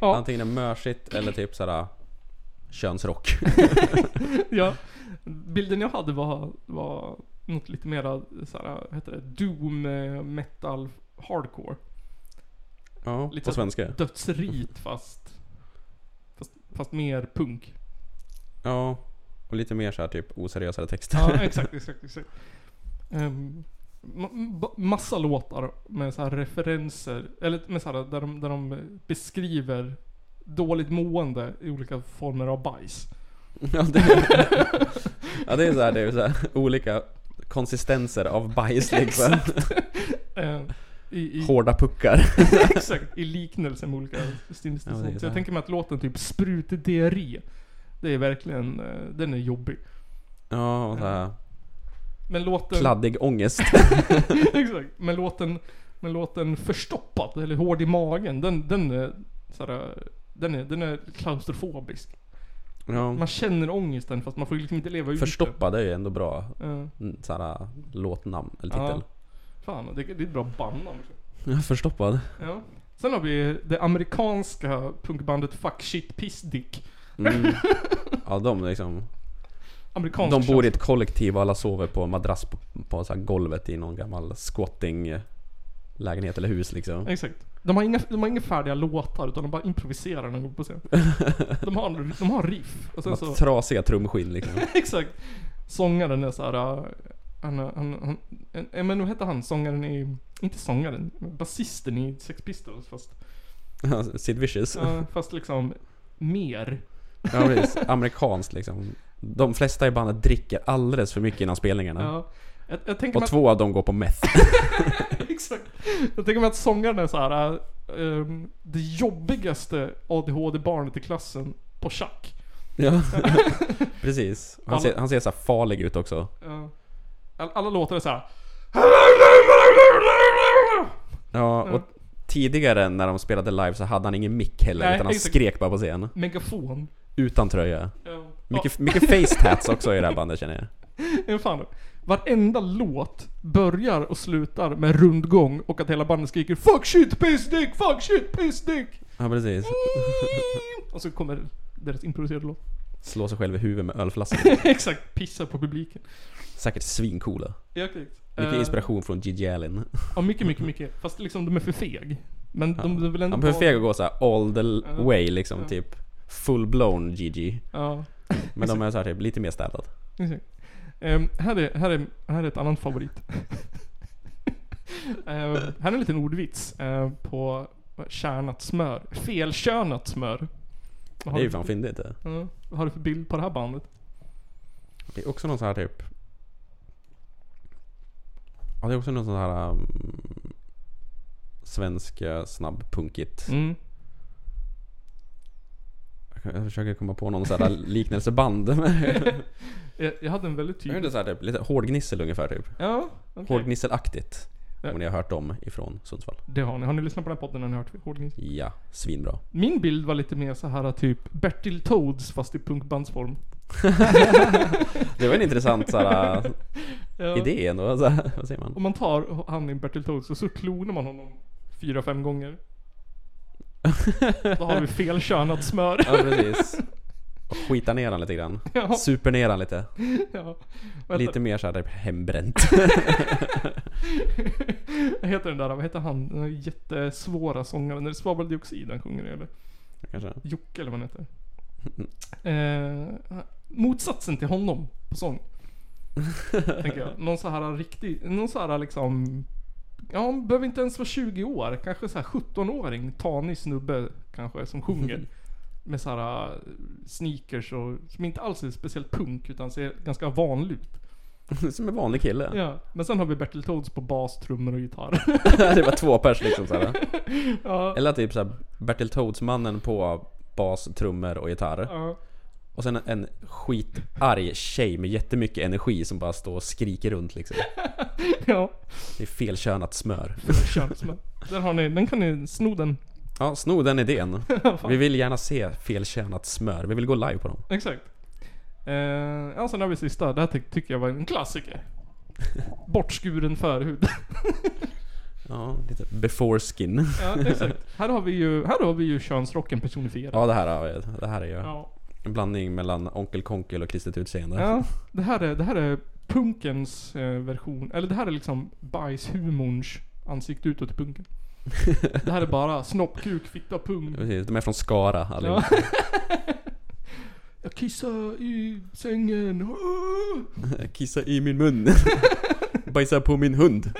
S2: Antingen är mörsigt eller typ så här könsrock.
S1: ja. Bilden jag hade var, var något lite mera såhär, heter det? Doom eh, metal hardcore.
S2: Ja,
S1: Lite
S2: på
S1: såhär
S2: svenska.
S1: Dödsrit fast, fast, fast mer punk.
S2: Ja, och lite mer så här typ oseriösare texter.
S1: Ja, exakt, exakt, exakt. Ehm, ma- ba- massa låtar med så här referenser, eller med så här, där, de, där de beskriver dåligt mående i olika former av bajs.
S2: Ja det är, ja, det är så här, det är så här, olika konsistenser av bajs liksom.
S1: Exakt. Ehm, i- i-
S2: Hårda puckar.
S1: Exakt, i liknelse med olika
S2: Ja,
S1: stilistiskt
S2: det
S1: ja,
S2: är
S1: Så
S2: så här.
S1: jag tänker mig att låten typ sprutdiarré, det är verkligen, eh, den är jobbig.
S2: Ja, och så här,
S1: Men låten...
S2: kladdig ångest.
S1: Exakt. Men låten, men låten förstoppad, eller hård i magen, den, den är såhär, den är, den är klaustrofobisk.
S2: Ja.
S1: Man känner ångesten fast man får ju liksom inte leva ut Eh,
S2: Förstoppad är ju ändå bra
S1: Ja.
S2: mm, så här, låtnamn eller
S1: den. Ja.
S2: titel.
S1: Fan, det, det är ett bra bandnamn. också.
S2: Ja. Förstoppad.
S1: Ja. Sen har vi det amerikanska punkbandet Fuck Shit Piss Dick.
S2: Mm. Ja, de liksom.
S1: Amerikansk
S2: de bor i ett kollektiv och alla sover på madrass på, på så här golvet i någon gammal squatting lägenhet eller hus liksom.
S1: Exakt. De har, inga, de har inga färdiga låtar utan de bara improviserar när de går på scen. De har, de har riff. Och
S2: De
S1: sen
S2: har
S1: så...
S2: Trasiga trumskinn liksom.
S1: Exakt. Sångaren är såhär... äh, Han, han, han, en- en- men vad hette han? Sångaren i... Inte sångaren. Basisten i Sex Pistols fast...
S2: Sid Vicious.
S1: ja, fast liksom mer.
S2: Ja precis, amerikanskt liksom. De flesta i bandet dricker alldeles för mycket innan spelningarna.
S1: Ja. Jag, jag tänker
S2: Och
S1: mig
S2: två av dem går på meth.
S1: att, Exakt. Jag tänker mig att sångaren är såhär... ähm, äh, ehm, det jobbigaste ADHD-barnet i klassen på schack.
S2: Ja, precis. Han ser, han ser så här farlig ut också.
S1: Ja. All- Alla låtar är såhär...
S2: Ja, och tidigare när de spelade live så hade han ingen mick heller,
S1: Nej,
S2: utan han
S1: exakt.
S2: skrek bara på scen.
S1: Megafon.
S2: Utan tröja.
S1: Ja.
S2: Mycket,
S1: Ja.
S2: mycket face tats också i det här bandet känner jag.
S1: Ja, fan. Varenda låt börjar och slutar med rundgång och att hela bandet skriker 'Fuck shit piss dick, fuck shit piss dick'
S2: Ja, precis.
S1: Och så kommer deras improviserade låt.
S2: Slå sig själv i huvudet med ölflaskan.
S1: Exakt, pissar på publiken.
S2: Säkert svincoola.
S1: Ja, korrekt.
S2: Mycket
S1: Eh.
S2: inspiration från Gigi Allen.
S1: Ja, mycket, mycket, mycket. Fast liksom de är för feg. Men de, de vill ändå
S2: Han behöver
S1: vara-
S2: feg och gå så här all the l-
S1: Ja.
S2: way liksom,
S1: Ja.
S2: typ full-blown Gigi.
S1: Ja.
S2: Men de är så här, typ, lite mer städad.
S1: Exakt. Ehm, här, är, här, är, här är ett annat favorit. Ehm, här är en liten ordvits eh, på kärnat smör. Felkönat smör. Vad har
S2: Det är
S1: du
S2: ju
S1: för-
S2: fan fyndigt det.
S1: Ja. Vad har du för bild på det här bandet?
S2: Det är också någon sån här typ... Ja, det är också någon sån här... Um, svensk eh, snabbpunkigt.
S1: Mm.
S2: Jag kan- Jag försöker komma på någon sån här liknelseband. Men-
S1: jag, jag hade en väldigt
S2: Det är
S1: tydlig...
S2: inte så här, typ, lite hårdgnissel ungefär typ.
S1: Ja, okej.
S2: Hårdgnisselaktigt.
S1: Ja.
S2: Om ni har hört dem ifrån Sundsvall.
S1: Det har ni. Har ni lyssnat på den här podden? Har ni hört Hårdnings?
S2: Ja, svinbra.
S1: Min bild var lite mer så här typ Bertil Toads fast i punkbandsform.
S2: Det var en intressant så här, eh,
S1: Ja.
S2: idé ändå. Så här, vad säger man?
S1: Om man tar han i Bertil Toads och så klonar man honom fyra, fem gånger. Då har vi felkönat smör.
S2: Ja, precis. Och skita ner han lite grann.
S1: Ja.
S2: Super ner han lite.
S1: Ja. Vad heter-
S2: Lite mer såhär typ hembränt.
S1: Vad heter den där? Vad heter han? Den där jättesvåra sångaren. Är det svaveldioxid han sjunger i, eller?
S2: Kanske.
S1: Jocke eller vad han heter. Eh, motsatsen till honom på sång. tänker jag. Någon så här riktig, någon så här liksom... Ja, hon behöver inte ens vara 20 år. Kanske så här 17-åring, tanig snubbe kanske som sjunger. Med så här eh, sneakers och som inte alls är speciellt punk utan ser ganska vanlig ut.
S2: Som en vanlig kille.
S1: Ja, men sen har vi Bertil Toads på bas, trummor och gitarr.
S2: det var två pers liksom såhär.
S1: Ja.
S2: Eller typ såhär Bertil Toads-mannen på bas, trummor och gitarr.
S1: Ja.
S2: Och sen en skitarg tjej med jättemycket energi som bara står och skriker runt liksom.
S1: Ja.
S2: Det är felkönat smör.
S1: Könsmän. Den har ni, den kan ni sno den.
S2: Ja, sno den idén. Vi vill gärna se felkönat smör. Vi vill gå live på dem.
S1: Exakt. Eh, ja, sen har vi sista. Det här ty- tycker jag var en klassiker. Bortskuren förhud.
S2: Ja, lite before skin.
S1: ja, exakt. Här har vi ju, här har vi ju könsrocken personifierad.
S2: Ja, det här, är- det här är ju
S1: Ja.
S2: en blandning mellan Onkel Konkel och Kristet Utseende.
S1: Ja, det här är, det här är punkens eh, version. Eller det här är liksom bajshumorns ansikte utåt i punken. Det här är bara snoppkuk, fitta, pung.
S2: Precis, de är från Skara allihop.
S1: Ja. Jag kissar i sängen. Ah!
S2: Kissa i min mun. Bajsa på min hund.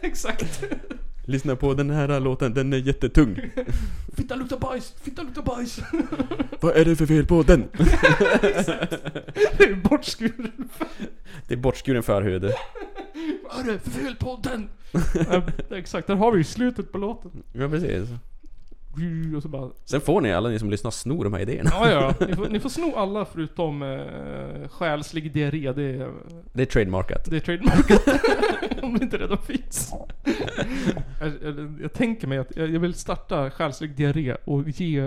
S1: Exakt.
S2: Lyssna på den här låten, den är jättetung.
S1: Fitta luktar bajs, fitta luktar bajs.
S2: Vad är det för fel på den?
S1: Exakt. Det är bortskuren.
S2: Det är bortskuren förhud.
S1: Vad är det för fel på den? Ja, Exakt, där har vi ju slutet på låten.
S2: Ja, precis.
S1: Och så bara...
S2: Sen får ni, alla ni som lyssnar, sno de här idéerna.
S1: Ja, ja. Ni får, ni får sno alla förutom eh, själslig diarré. Det är,
S2: Det är trademarkat.
S1: det är trademarkat. Om det inte redan finns. jag, jag, jag tänker mig att jag, jag vill starta själslig diarré och ge...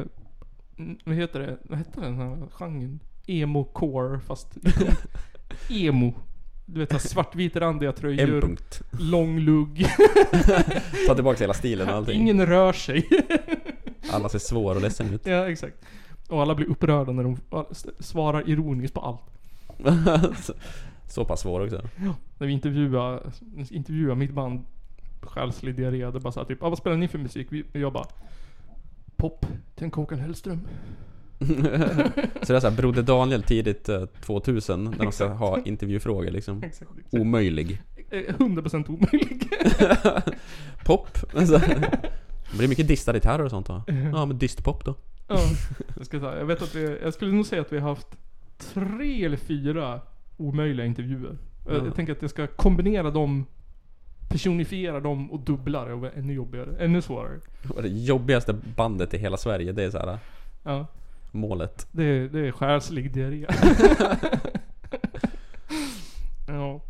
S1: mm, Vad heter det? Vad heter den här genren? Emo-core fast... emo. Du vet såhär svartvit randiga tröjor.
S2: M-punkt.
S1: Lång lugg.
S2: Ta tillbaka hela stilen och allting.
S1: Ingen rör sig.
S2: Alla ser svår och ledsen ut.
S1: ja, exakt. Och alla blir upprörda när de s- svarar ironiskt på allt.
S2: Så- Så pass svår också.
S1: När vi intervjuar, intervjuar mitt band Själslig diarré, det bara såhär typ ah, vad spelar ni för musik? Vi, och jag bara Pop, tänk Håkan Hellström.
S2: Så det är såhär Broder Daniel tidigt eh, 2000 när de ska ha intervjufrågor liksom.
S1: Exakt, exakt.
S2: Omöjlig.
S1: Eh, 100% omöjlig.
S2: Pop. Alltså, det blir mycket distade gitarrer och sånt då. Ja men dystpop då.
S1: ja, jag, ska säga, jag, vet att vi, jag skulle nog säga att vi har haft tre eller fyra omöjliga intervjuer. Jag,
S2: Ja.
S1: jag tänker att jag ska kombinera dem, personifiera dem och dubbla det och vara ännu jobbigare, ännu svårare.
S2: Och Det jobbigaste bandet i hela Sverige det är såhär
S1: Ja.
S2: äh, målet.
S1: Det är, det är själslig diarré. ja.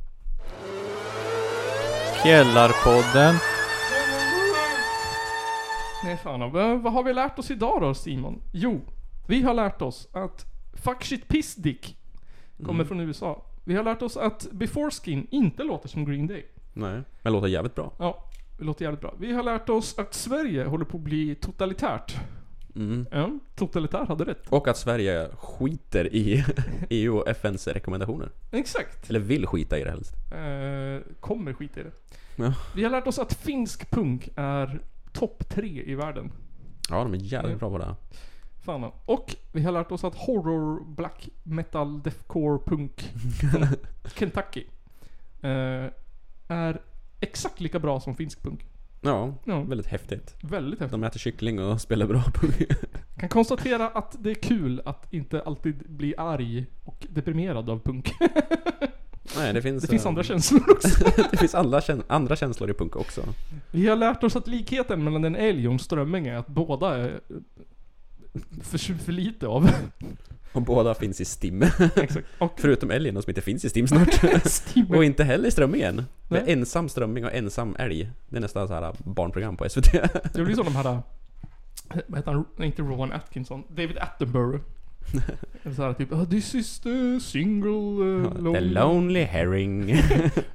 S16: Källarpodden.
S1: Nej fan, vad vad har vi lärt oss idag då Simon? Jo, vi har lärt oss att fuck shit piss dick kommer
S2: Mm.
S1: från USA. Vi har lärt oss att before skin inte låter som Green Day.
S2: Nej, men låter jävligt bra.
S1: Ja, det låter jävligt bra. Vi har lärt oss att Sverige håller på att bli totalitärt.
S2: Mm.
S1: Ja, totalitär hade rätt.
S2: Och att Sverige skiter i EU och FNs rekommendationer.
S1: Exakt.
S2: Eller vill skita i det helst.
S1: Eh, kommer skit i det.
S2: Ja.
S1: Vi har lärt oss att finsk punk är topp tre i världen.
S2: Ja, de är jävligt bra på det.
S1: Fan. ja. Och vi har lärt oss att horror, black metal, deathcore, punk från Kentucky eh, är exakt lika bra som finsk punk.
S2: Ja,
S1: Ja.
S2: väldigt häftigt.
S1: Väldigt häftigt.
S2: De äter kyckling och spelar bra på
S1: Kan konstatera att det är kul att inte alltid bli arg och deprimerad av punk.
S2: Nej, det finns...
S1: Det finns
S2: eh,
S1: andra känslor också.
S2: det finns alla kän- andra känslor i punk också.
S1: Vi har lärt oss att likheten mellan en älg och en strömming är att båda är för, för lite av.
S2: Och båda finns i STIM.
S1: Exakt.
S2: Förutom älgen som inte finns i STIM snart.
S1: Stim.
S2: Och inte heller strömmingen. Det
S1: Nej.
S2: är ensam strömming och ensam älg. Det är nästan så här äh, barnprogram på SVT.
S1: Det blir som de här... eh, Vad heter han? Nej, Inte Rowan Atkinson. David Attenborough. Så här typ oh, This is the single uh,
S2: The Lonely Herring.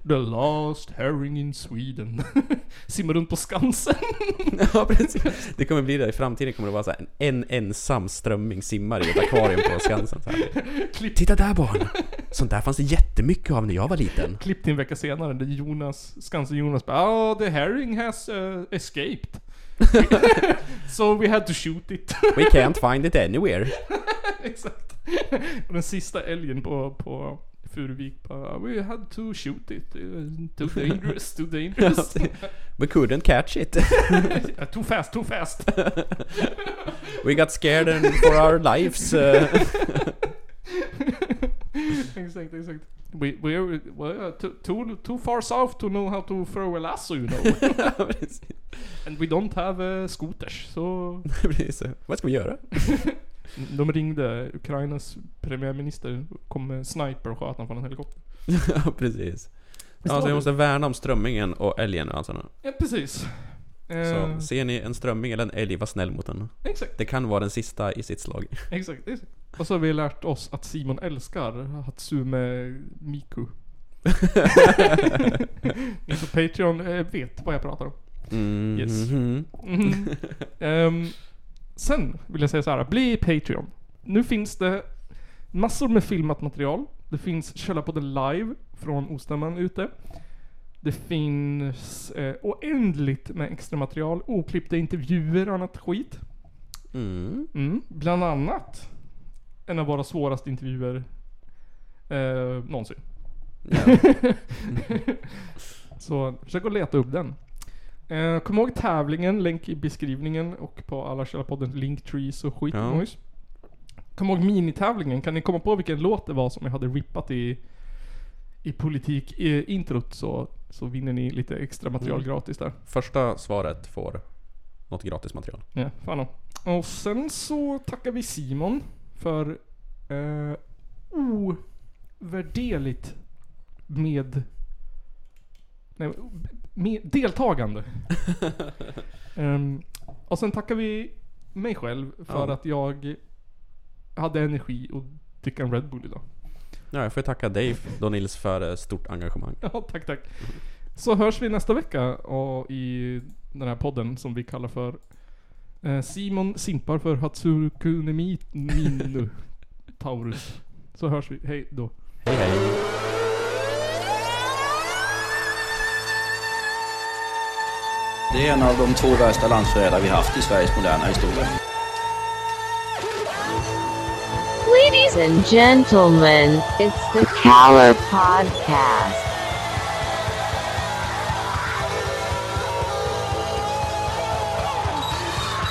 S1: The last herring in Sweden. Simmar runt på Skansen.
S2: ja, precis. Det kommer bli det. I framtiden kommer det vara så här, en ensam strömming simmar i ett akvarium på Skansen. Så här. Titta där barn! Sånt där fanns det jättemycket av när jag var liten.
S1: Klipp till en vecka senare där Jonas, Skansen-Jonas bara oh, the herring has uh, escaped. so we had to shoot it.
S2: We can't find it anywhere.
S1: Exakt. Och den sista älgen på, på Furuvik bara We had to shoot it. Uh, Too dangerous, too dangerous.
S2: We couldn't catch it.
S1: Ja, too fast, too fast.
S2: We got scared and for our lives. uh.
S1: exakt, exakt. We, we, we're too, too, too far south to know how to throw a lasso you know. And we don't have uh, scooters, so...
S2: Precis. Vad ska vi göra?
S1: De ringde Ukrainas premiärminister, kom med sniper och sköt honom från en helikopter.
S2: ja, precis. Ja, så vi måste värna om strömmingen och älgen nu alltså.
S1: Ja, precis. Eh,
S2: Så ser ni en strömming eller en älg, var snäll mot den.
S1: Exakt.
S2: Det kan vara den sista i sitt slag.
S1: Exakt, exakt. Och så har vi lärt oss att Simon älskar Hatsume Miku. Ni på Patreon eh, vet vad jag pratar om. Yes.
S2: Mhm.
S1: Mhm. Ehm, sen vill jag säga så här, bli Patreon. Nu finns det massor med filmat material. Det finns Källarpodden live från Ostämman ute. Det finns eh, oändligt med extra material, oklippta intervjuer och annat skit.
S2: Mm.
S1: Mm. Bland annat en av våra svåraste intervjuer eh, någonsin. Så försök att leta upp den. Eh, kom ihåg tävlingen, länk i beskrivningen och på alla källarpodden linktrees och skit.
S2: Ja.
S1: Ja. Kom ihåg minitävlingen, kan ni komma på vilken låt det var som jag hade rippat i, i politik i introt så, så vinner ni lite extra material
S2: Mm.
S1: gratis där.
S2: Första svaret får något gratis material.
S1: Ja, fan då. Och sen så tackar vi Simon för eh, ovärderligt med... Nej, med deltagande. Ehm, och sen tackar vi mig själv för
S2: Ja.
S1: att jag hade energi och dricka en Red Bull idag.
S2: Ja, jag får tacka dig då Nils för eh, stort engagemang.
S1: Ja, tack, tack. Så hörs vi nästa vecka och i den här podden som vi kallar för eh, Simon simpar för Hatsukunemi Minu Taurus. Så hörs vi. Hej då.
S2: Hej hej.
S17: Det är en av de två värsta landsförrädare vi haft i Sveriges moderna historia.
S18: Ladies and gentlemen, it's the Caller Podcast.